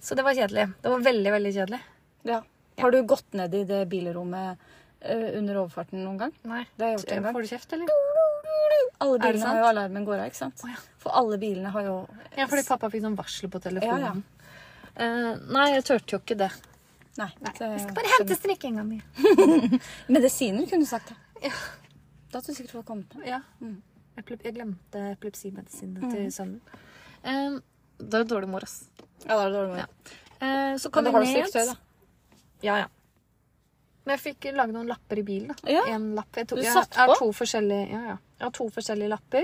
Speaker 1: Så det var kjedelig. Det var veldig, veldig kjedelig.
Speaker 2: Ja. Har du gått ned i det bilrommet eh, under overfarten noen gang?
Speaker 1: Nei. Eh,
Speaker 2: Det har jeg gjort en gang.
Speaker 1: Får du kjeft, eller?
Speaker 2: Alle
Speaker 1: det
Speaker 2: bilene
Speaker 1: sant?
Speaker 2: har jo alarmen går av, ikke sant?
Speaker 1: ja.
Speaker 2: For alle bilene har jo
Speaker 1: Ja, fordi pappa fikk sånn varsel på
Speaker 2: Ja, ja.
Speaker 1: telefonen. Eh, nei, jeg turte jo ikke det.
Speaker 2: Nei.
Speaker 1: Nei,
Speaker 2: det-
Speaker 1: jeg skal bare hente strikkinga mi.
Speaker 2: Medisiner kunne du sagt det.
Speaker 1: Ja.
Speaker 2: Da hadde du sikkert fått kommet med.
Speaker 1: Ja. Epilep- Jeg glemte epilepsimedisinene til
Speaker 2: Mhm.
Speaker 1: sønnen. Eh, det er jo dårlig mor, ass.
Speaker 2: Ja, da er det dårlig
Speaker 1: Ja.
Speaker 2: med.
Speaker 1: Eh, så
Speaker 2: Men
Speaker 1: kom
Speaker 2: da
Speaker 1: jeg
Speaker 2: har du
Speaker 1: ned.
Speaker 2: strikketøy, da.
Speaker 1: Ja, ja. Men jeg fikk lagd noen lapper i bilen. da.
Speaker 2: Ja.
Speaker 1: En lapp. Jeg, tok,
Speaker 2: Du
Speaker 1: jeg,
Speaker 2: satt
Speaker 1: har
Speaker 2: på? Mm.
Speaker 1: to forskjellige, ja, ja. jeg har to forskjellige lapper.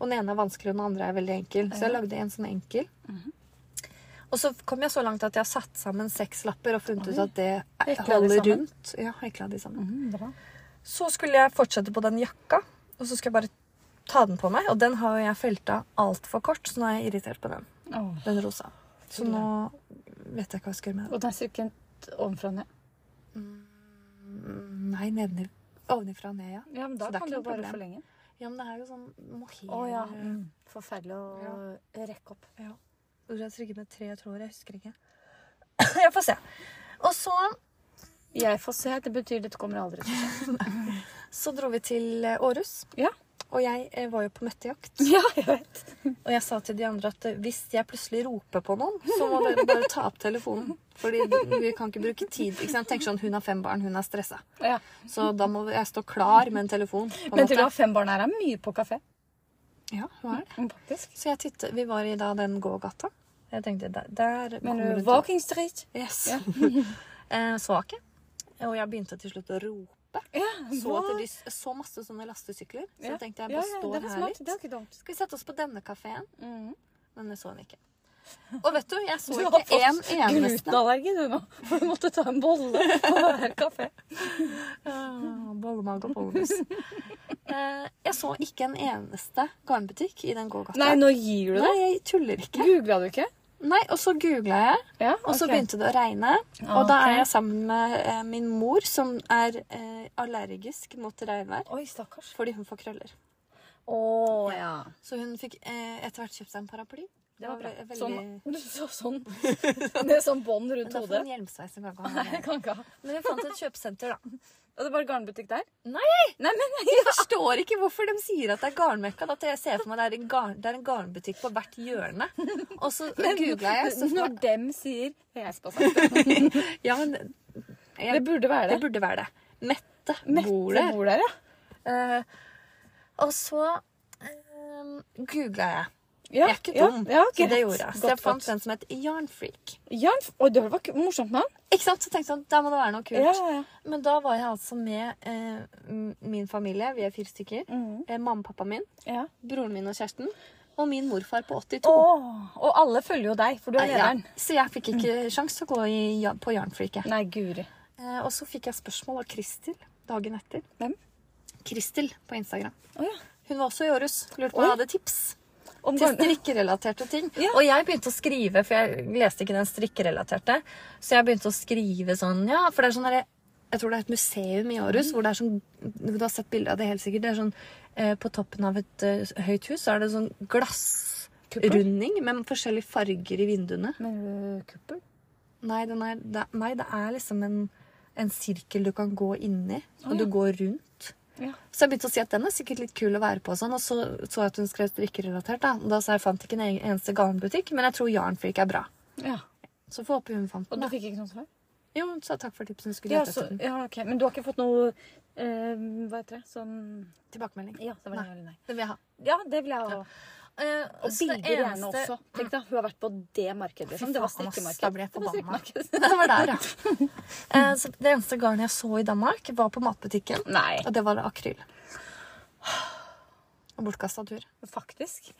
Speaker 1: Og den ene er vanskelig, og den andre er veldig enkel. Så jeg lagde en sånn enkel.
Speaker 2: Mhm.
Speaker 1: Og så kom jeg så langt at jeg har satt sammen seks lapper og funnet ut at det
Speaker 2: Hekla de
Speaker 1: holder
Speaker 2: sammen?
Speaker 1: rundt. Ja, hekla de sammen.
Speaker 2: Mm, bra.
Speaker 1: Så skulle jeg fortsette på den jakka, og så skulle jeg bare ta den på meg. Og den har jo jeg felta altfor kort, så nå er jeg irritert på den.
Speaker 2: Åh.
Speaker 1: Den rosa. Så nå vet jeg ikke hva jeg skal gjøre med den.
Speaker 2: Og den er strikket ovenfra og ned.
Speaker 1: Mm, Nei, nedenif- ovenifra og ned, ja.
Speaker 2: Ja, men da
Speaker 1: Så det er
Speaker 2: kan
Speaker 1: ikke
Speaker 2: du jo
Speaker 1: noe
Speaker 2: bare
Speaker 1: problem.
Speaker 2: forlenge.
Speaker 1: Ja, men det er jo sånn eh, mohair
Speaker 2: Å ja. Mm. Forferdelig å rekke opp.
Speaker 1: Ja. Hvor jeg trykket med tre tråder, jeg husker ikke. jeg får se. Og så,
Speaker 2: Jeg får se. Det betyr dette kommer aldri til å skje.
Speaker 1: så dro vi til eh, Århus.
Speaker 2: Ja.
Speaker 1: Og jeg eh, var jo på møttejakt.
Speaker 2: ja, jeg vet.
Speaker 1: Og jeg sa til de andre at eh, hvis jeg plutselig roper på noen, så må dere bare ta opp telefonen. Fordi vi kan ikke bruke tid. ikke sant? Tenk sånn, Hun har fem barn, hun er stressa.
Speaker 2: Ja.
Speaker 1: Så da må jeg stå klar med en telefon. på en
Speaker 2: Men til du
Speaker 1: måte.
Speaker 2: har fem barn her, er mye på kafé.
Speaker 1: Ja, hun er det.
Speaker 2: Mm, Faktisk.
Speaker 1: Så jeg tittet, Vi var i da den gågata. Jeg tenkte der, der
Speaker 2: Men
Speaker 1: kommer det-
Speaker 2: Walking Street
Speaker 1: Yes.
Speaker 2: Ja.
Speaker 1: eh, svake. Og jeg begynte til slutt å rope.
Speaker 2: ja,
Speaker 1: Så,
Speaker 2: hva?
Speaker 1: at de, s- så masse sånne lastesykler. Så jeg tenkte jeg
Speaker 2: Ja,
Speaker 1: bare
Speaker 2: ja,
Speaker 1: står
Speaker 2: det var
Speaker 1: her
Speaker 2: smart.
Speaker 1: litt.
Speaker 2: Det var ikke dumt.
Speaker 1: Skal vi sette oss på denne kafeen?
Speaker 2: Mm.
Speaker 1: Men det så hun ikke. Og vet du, jeg så
Speaker 2: Du har
Speaker 1: ikke en
Speaker 2: fått
Speaker 1: eneste
Speaker 2: glutenallergi du nå. For du måtte ta en bolle på hver kafé.
Speaker 1: Ah, Bollemage og bollemus. Eh, jeg så ikke en eneste garnbutikk i den gågata.
Speaker 2: Nei, nå gir du
Speaker 1: Nei,
Speaker 2: deg.
Speaker 1: jeg tuller ikke.
Speaker 2: Googla du ikke?
Speaker 1: Nei, Og så googla jeg,
Speaker 2: Ja,
Speaker 1: og så
Speaker 2: ok.
Speaker 1: begynte det å regne.
Speaker 2: Ah,
Speaker 1: Og da
Speaker 2: ok.
Speaker 1: er jeg sammen med eh, min mor, som er eh, allergisk mot regnvær.
Speaker 2: Oi, stakkars.
Speaker 1: Fordi hun får krøller.
Speaker 2: Å ja.
Speaker 1: Så hun fikk eh, etter hvert kjøpt seg en paraply.
Speaker 2: Det var bra.
Speaker 1: ve- veldig...
Speaker 2: Sånn. Så, sånn. Det er sånn bånd
Speaker 1: Men
Speaker 2: rundt
Speaker 1: da får
Speaker 2: hodet.
Speaker 1: en hjelmsveis en gang.
Speaker 2: Nei, jeg kan ikke ha.
Speaker 1: Men vi fant et kjøpesenter, da.
Speaker 2: Og det var garnbutikk der?
Speaker 1: Nei!
Speaker 2: Nei, men
Speaker 1: Jeg forstår ikke hvorfor de sier at det er garnmekka. da, At jeg ser for meg det er en, garn, det er en garnbutikk på hvert hjørne. Og så googla jeg. Så,
Speaker 2: Når dem sier Jeg skal si det.
Speaker 1: ja, men
Speaker 2: Det
Speaker 1: jeg,
Speaker 2: burde være
Speaker 1: det
Speaker 2: det.
Speaker 1: burde være det. Mette,
Speaker 2: Mette
Speaker 1: bor der.
Speaker 2: bor der, ja.
Speaker 1: Eh, og så um, googla jeg.
Speaker 2: ja.
Speaker 1: Jeg er ikke dum,
Speaker 2: Ja, ja,
Speaker 1: så det
Speaker 2: greit.
Speaker 1: gjorde jeg. Så
Speaker 2: Godt,
Speaker 1: jeg fant
Speaker 2: godt.
Speaker 1: en som het Yarnfreak.
Speaker 2: Jan, Oi, det var ikke morsomt navn.
Speaker 1: Ikke sant? Så tenkte jeg sånn, der må det være noe kult.
Speaker 2: Ja, ja, ja.
Speaker 1: Men da var jeg altså med eh, m- min familie, vi er fire stykker.
Speaker 2: Mhm.
Speaker 1: Eh, mamma og pappa min,
Speaker 2: ja.
Speaker 1: broren min og kjæresten. Og min morfar på 82.
Speaker 2: Åh, og alle følger jo deg, for du er
Speaker 1: Nei, ja.
Speaker 2: lederen.
Speaker 1: Så jeg fikk ikke sjans til å gå i, ja, på Jarnfreaket.
Speaker 2: Nei, guri.
Speaker 1: Eh, og så fikk jeg spørsmål av Kristel dagen etter.
Speaker 2: Hvem?
Speaker 1: Kristel på Instagram.
Speaker 2: Å ja.
Speaker 1: Hun var også i Århus. Lurte
Speaker 2: Oi.
Speaker 1: på om jeg hadde tips
Speaker 2: Om
Speaker 1: til
Speaker 2: garn...
Speaker 1: strikkerelaterte ting.
Speaker 2: Ja.
Speaker 1: Og jeg begynte å skrive, for jeg leste ikke den strikkerelaterte. Så jeg begynte å skrive sånn Ja, for det er sånn derre jeg tror det er et museum i Århus hvor det er sånn Du har sett bilde av det helt sikkert. Det er sånn eh, På toppen av et eh, høyt hus så er det sånn glassrunding med forskjellige farger i vinduene.
Speaker 2: Men, øh, kuppel?
Speaker 1: Nei, den er, det, nei, det er liksom en, en sirkel du kan gå inni, og
Speaker 2: Å,
Speaker 1: du
Speaker 2: ja.
Speaker 1: går rundt.
Speaker 2: Ja.
Speaker 1: Så jeg begynte å si at den er sikkert litt kul å være på, og sånn, og så så jeg at hun skrev strikkerelatert. Da Og da sa jeg fant ikke en egen- eneste garnbutikk, men jeg tror Jarnfrik er bra.
Speaker 2: ja.
Speaker 1: Så får håpe hun fant
Speaker 2: Og
Speaker 1: den.
Speaker 2: du
Speaker 1: da.
Speaker 2: fikk ikke noe svar?
Speaker 1: Jo, hun sa takk for tipsen. Skulle
Speaker 2: Ja,
Speaker 1: lete
Speaker 2: så,
Speaker 1: etter den.
Speaker 2: ja, ok. Men du har ikke fått noe eh, Hva heter det? Sånn
Speaker 1: Tilbakemelding.
Speaker 2: Ja, det var
Speaker 1: Nei.
Speaker 2: nei. eller nei.
Speaker 1: Det vil jeg ha.
Speaker 2: Ja, det vil jeg ha.
Speaker 1: Eh,
Speaker 2: Og
Speaker 1: så det
Speaker 2: bilder gjerne
Speaker 1: eneste-
Speaker 2: også. Tenk deg, hun har vært på det markedet. Liksom.
Speaker 1: Fy
Speaker 2: Det var
Speaker 1: faen, ass,
Speaker 2: strikkemarked.
Speaker 1: da blir jeg
Speaker 2: Det var
Speaker 1: forbanna.
Speaker 2: strikkemarked.
Speaker 1: Det var der, ja. Eh, så det eneste garnet jeg så i Danmark, var på matbutikken,
Speaker 2: Nei,
Speaker 1: og det var akryl. Og bortkasta tur.
Speaker 2: faktisk.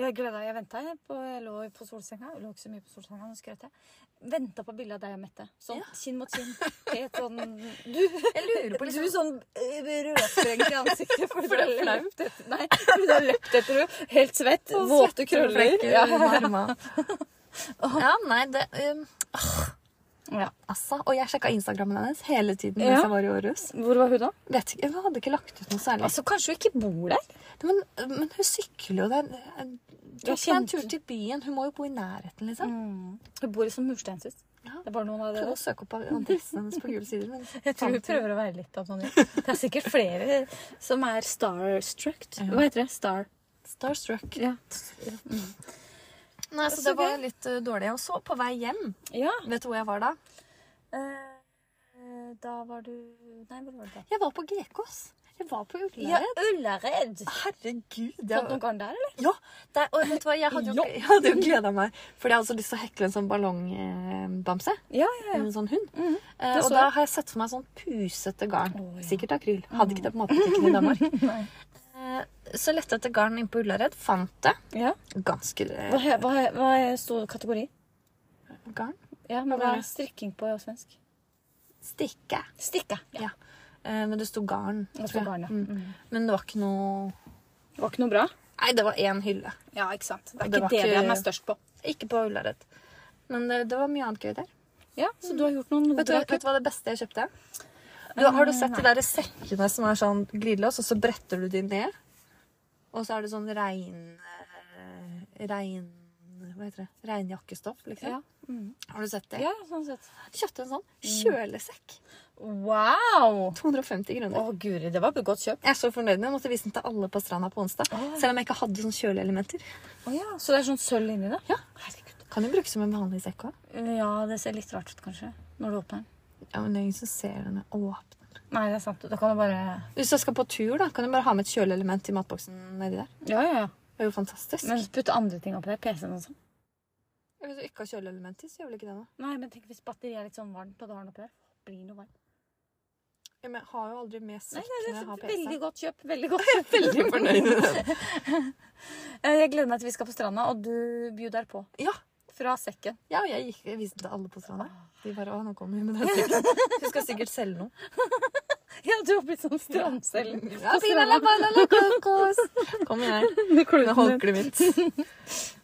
Speaker 2: Jeg gleda jeg venta. Jeg, på- jeg lå på solsenga. Jeg lå ikke så mye på solsenga, nå skrøt jeg. Venta på bilde av deg og Mette. Sånn
Speaker 1: Ja.
Speaker 2: kinn mot kinn. Helt sånn Du,
Speaker 1: Jeg lurer på liksom
Speaker 2: du sånn eh, rødsprengt i ansiktet fordi du
Speaker 1: det
Speaker 2: har
Speaker 1: er flaut.
Speaker 2: løpt etter Nei, fordi du har løpt etter henne. Helt svett,
Speaker 1: Og
Speaker 2: våte
Speaker 1: svetter og
Speaker 2: krøller.
Speaker 1: flekker
Speaker 2: Ja.
Speaker 1: under armene. Ja, nei, det um,
Speaker 2: Ja.
Speaker 1: Altså, og jeg sjekka Instagrammen hennes hele tiden
Speaker 2: Ja.
Speaker 1: mens jeg var i Århus.
Speaker 2: Hvor var hun da?
Speaker 1: Vet ikke, Hun hadde ikke lagt ut noe særlig.
Speaker 2: Altså, Kanskje hun ikke bor der?
Speaker 1: Men, men hun sykler jo der. Du
Speaker 2: Ja,
Speaker 1: har en
Speaker 2: kjente-
Speaker 1: tur til byen. Hun må jo bo i nærheten, liksom.
Speaker 2: Hun bor i sånn mursteinshus.
Speaker 1: Ja.
Speaker 2: Det er bare noen av dere.
Speaker 1: Prøv å søke opp adressen hennes på gule sider. Men
Speaker 2: Jeg tror hun
Speaker 1: fant hun-
Speaker 2: prøver å være litt anonym. Det er sikkert flere som er starstruck. Hva heter det? Star.
Speaker 1: Starstruck.
Speaker 2: Ja.
Speaker 1: Nei,
Speaker 2: Så
Speaker 1: så det var
Speaker 2: gøy.
Speaker 1: litt eh, dårlig. Og så, på vei hjem,
Speaker 2: ja.
Speaker 1: vet du hvor jeg var da?
Speaker 2: Eh, Da var du Nei, hvor var du da?
Speaker 1: Jeg var på GKs. Jeg var på
Speaker 2: Ja,
Speaker 1: Ullared.
Speaker 2: Ullared.
Speaker 1: Herregud. jeg
Speaker 2: Fant
Speaker 1: var-
Speaker 2: noen garn der, eller?
Speaker 1: Ja, det, og vet du hva, jeg hadde jo,
Speaker 2: Ja.
Speaker 1: jeg hadde jo gleda meg. Fordi jeg hadde så lyst til å hekle en sånn ballongbamse.
Speaker 2: Ja, ja, Mhm.
Speaker 1: En sånn hund. eh,
Speaker 2: det så
Speaker 1: og da
Speaker 2: jeg.
Speaker 1: har jeg sett for meg sånn pusete garn.
Speaker 2: Å, ja.
Speaker 1: Sikkert akryl. Hadde ikke det på matbutikken i Danmark.
Speaker 2: Nei.
Speaker 1: Eh, så lette jeg etter garn inn på Ullared. Fant det.
Speaker 2: ja.
Speaker 1: Ganske
Speaker 2: Hva,
Speaker 1: eh,
Speaker 2: he- hva, he- hva he- sto kategori?
Speaker 1: garn.
Speaker 2: Ja, men
Speaker 1: Hva var
Speaker 2: hva er
Speaker 1: det?
Speaker 2: strikking på svensk?
Speaker 1: Stikke.
Speaker 2: Stikke. Ja.
Speaker 1: Ja. Eh, men det sto garn.
Speaker 2: Det
Speaker 1: tror
Speaker 2: sto
Speaker 1: jeg.
Speaker 2: garn, ja.
Speaker 1: Mm. Men det var ikke noe
Speaker 2: Det var ikke noe bra?
Speaker 1: Nei, det var én hylle.
Speaker 2: Ja, ikke sant. Det er
Speaker 1: Det var
Speaker 2: ikke det
Speaker 1: ikke-
Speaker 2: den er størst på.
Speaker 1: Ikke på Ullared. Men det, det var mye annet gøy der.
Speaker 2: Ja, Så du har gjort noen
Speaker 1: Vet du,
Speaker 2: bra
Speaker 1: vet du hva det beste jeg kjøpte? Du, har du sett de der sekkene som er sånn glidelås, og så bretter du de ned? Og så er det sånn regn... eh, regn... Hva heter det? Regnjakkestoff, liksom.
Speaker 2: Ja. Mm.
Speaker 1: Har du sett det?
Speaker 2: ja, sånn sett.
Speaker 1: Kjøpte en sånn kjølesekk.
Speaker 2: Wow!
Speaker 1: 250
Speaker 2: Å,
Speaker 1: kroner.
Speaker 2: guri, det var et godt kjøp.
Speaker 1: Jeg er så fornøyd med den. Jeg måtte vise den til alle på stranda på onsdag.
Speaker 2: Å.
Speaker 1: Selv om jeg ikke hadde sånn kjøleelementer.
Speaker 2: Å ja, Så det er sånn sølv inni det?
Speaker 1: Ja.
Speaker 2: Herregud.
Speaker 1: Kan jo brukes som en vanlig sekk òg.
Speaker 2: Ja, det ser litt rart ut, kanskje. Når du åpner den.
Speaker 1: Ja, men det er ingen som ser den er åpen.
Speaker 2: Nei, det er sant. Da kan du bare
Speaker 1: Hvis jeg skal på tur, da, kan du bare ha med et kjøleelement i matboksen nedi der.
Speaker 2: Ja, ja, ja.
Speaker 1: Det er jo fantastisk.
Speaker 2: Men putte andre ting oppi der. PC-en og sånn.
Speaker 1: Hvis du ikke har kjøleelement i, så gjør vel ikke det noe.
Speaker 2: Nei, men tenk hvis batteriet er litt sånn varmt, og du har den oppi der. Blir noe varmt.
Speaker 1: Ja, men jeg har jo aldri med sekk når jeg har PC.
Speaker 2: Veldig godt kjøp. sånn Veldig godt kjøp.
Speaker 1: Veldig fornøyd med det.
Speaker 2: Eh, Jeg gleder meg til vi skal på stranda, og du bjuder der på.
Speaker 1: Ja.
Speaker 2: Fra sekken.
Speaker 1: Ja, og jeg, gikk, jeg viste det til alle på stranda. De bare 'Å, nå kommer hun med den sekken'. Hun skal sikkert selge noe.
Speaker 2: Ja, du har blitt sånn strandselg.
Speaker 1: Ja, fina la bala la kokos. Kommer jeg med håndkleet mitt. Ja.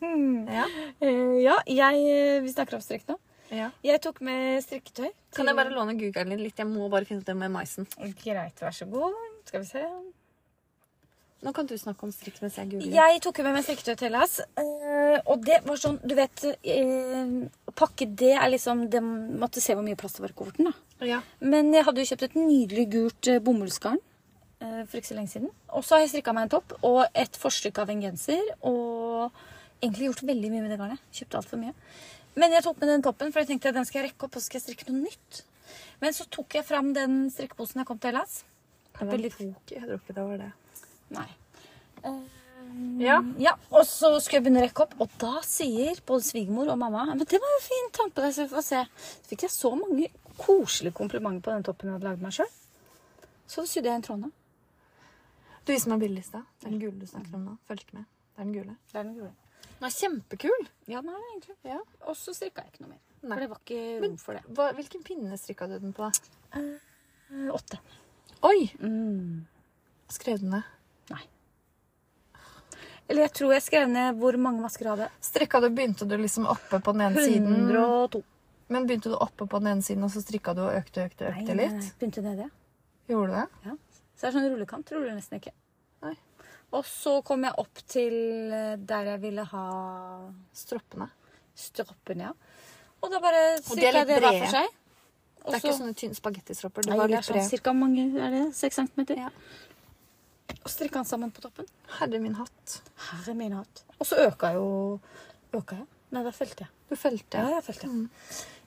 Speaker 2: Hmm. Ja, jeg eh, Vi snakker om strikk nå.
Speaker 1: ja.
Speaker 2: Jeg tok med strikketøy.
Speaker 1: Kan jeg bare låne googeren din litt? Jeg må bare finne ut det med maisen.
Speaker 2: Greit, vær så god. Skal vi se.
Speaker 1: Nå kan du snakke om strikk mens jeg googler.
Speaker 2: Jeg tok jo med meg strikketøy til Hellas, eh, og det var sånn Du vet, eh, pakke D er liksom Det måtte se hvor mye plass det var i kofferten, da.
Speaker 1: Ja.
Speaker 2: Men jeg hadde jo kjøpt et nydelig gult eh, bomullsgarn eh, for ikke så lenge siden. Og så har jeg strikka meg en topp og et forstykke av en genser. Og egentlig gjort veldig mye med det garnet. Kjøpte altfor mye. Men jeg tok med den toppen, for jeg tenkte at den skal jeg rekke opp og så skal jeg strikke noe nytt. Men så tok jeg fram den strikkeposen jeg kom til Hellas.
Speaker 1: Det var
Speaker 2: Veldig-
Speaker 1: tok, jeg tror ikke det var det.
Speaker 2: Nei.
Speaker 1: Mm. Ja.
Speaker 2: Ja, Og så skulle jeg begynne å rekke opp, og da sier både svigermor og mamma Men det var jo fint, ta den på deg, så vi får se. Så fikk jeg så mange koselige komplimenter på den toppen jeg hadde lagd meg sjøl. Så sydde jeg en tråd nå.
Speaker 1: Du viser meg bildet i stad. Det er den gule du snakker om nå. Følg ikke med. Det er den gule.
Speaker 2: Det er den gule.
Speaker 1: Den er kjempekul.
Speaker 2: Ja, den er det egentlig.
Speaker 1: Ja.
Speaker 2: Og så strikka jeg ikke noe mer.
Speaker 1: Nei.
Speaker 2: For det var ikke rom
Speaker 1: Men-
Speaker 2: for det.
Speaker 1: Hva, hvilken pinne strikka du den på? Mm,
Speaker 2: Eh, Åtte.
Speaker 1: Oi!
Speaker 2: Mm.
Speaker 1: Skrev du ned?
Speaker 2: Nei. Eller jeg tror jeg skrev ned hvor mange masker jeg hadde.
Speaker 1: Strikka du, begynte du liksom oppe på den ene siden?
Speaker 2: 102.
Speaker 1: Men begynte du oppe på den ene siden, og så strikka du og økte og økte, og
Speaker 2: Nei,
Speaker 1: økte
Speaker 2: nei,
Speaker 1: litt?
Speaker 2: nei. Begynte nedi. ja.
Speaker 1: Gjorde du det?
Speaker 2: Ja. Så det er sånn rullekant. Ruller nesten ikke.
Speaker 1: Nei.
Speaker 2: Og så kom jeg opp til eh, der jeg ville ha
Speaker 1: Stroppene.
Speaker 2: stroppene, ja. Og da bare
Speaker 1: de er
Speaker 2: strikka jeg
Speaker 1: litt
Speaker 2: det hver
Speaker 1: brede.
Speaker 2: for seg. Og
Speaker 1: Det er ikke
Speaker 2: så-
Speaker 1: sånne tynne spagettistropper. Det
Speaker 2: Nei,
Speaker 1: var
Speaker 2: det er
Speaker 1: litt
Speaker 2: sånn
Speaker 1: bred.
Speaker 2: cirka mange, er det? 6 centimeter?
Speaker 1: Ja.
Speaker 2: Og strikka den sammen på toppen.
Speaker 1: Herre min hatt.
Speaker 2: Herre min hatt. Og så øka jo Øka jeg? Nei, da felte jeg.
Speaker 1: Du felte.
Speaker 2: Ja, jeg felte.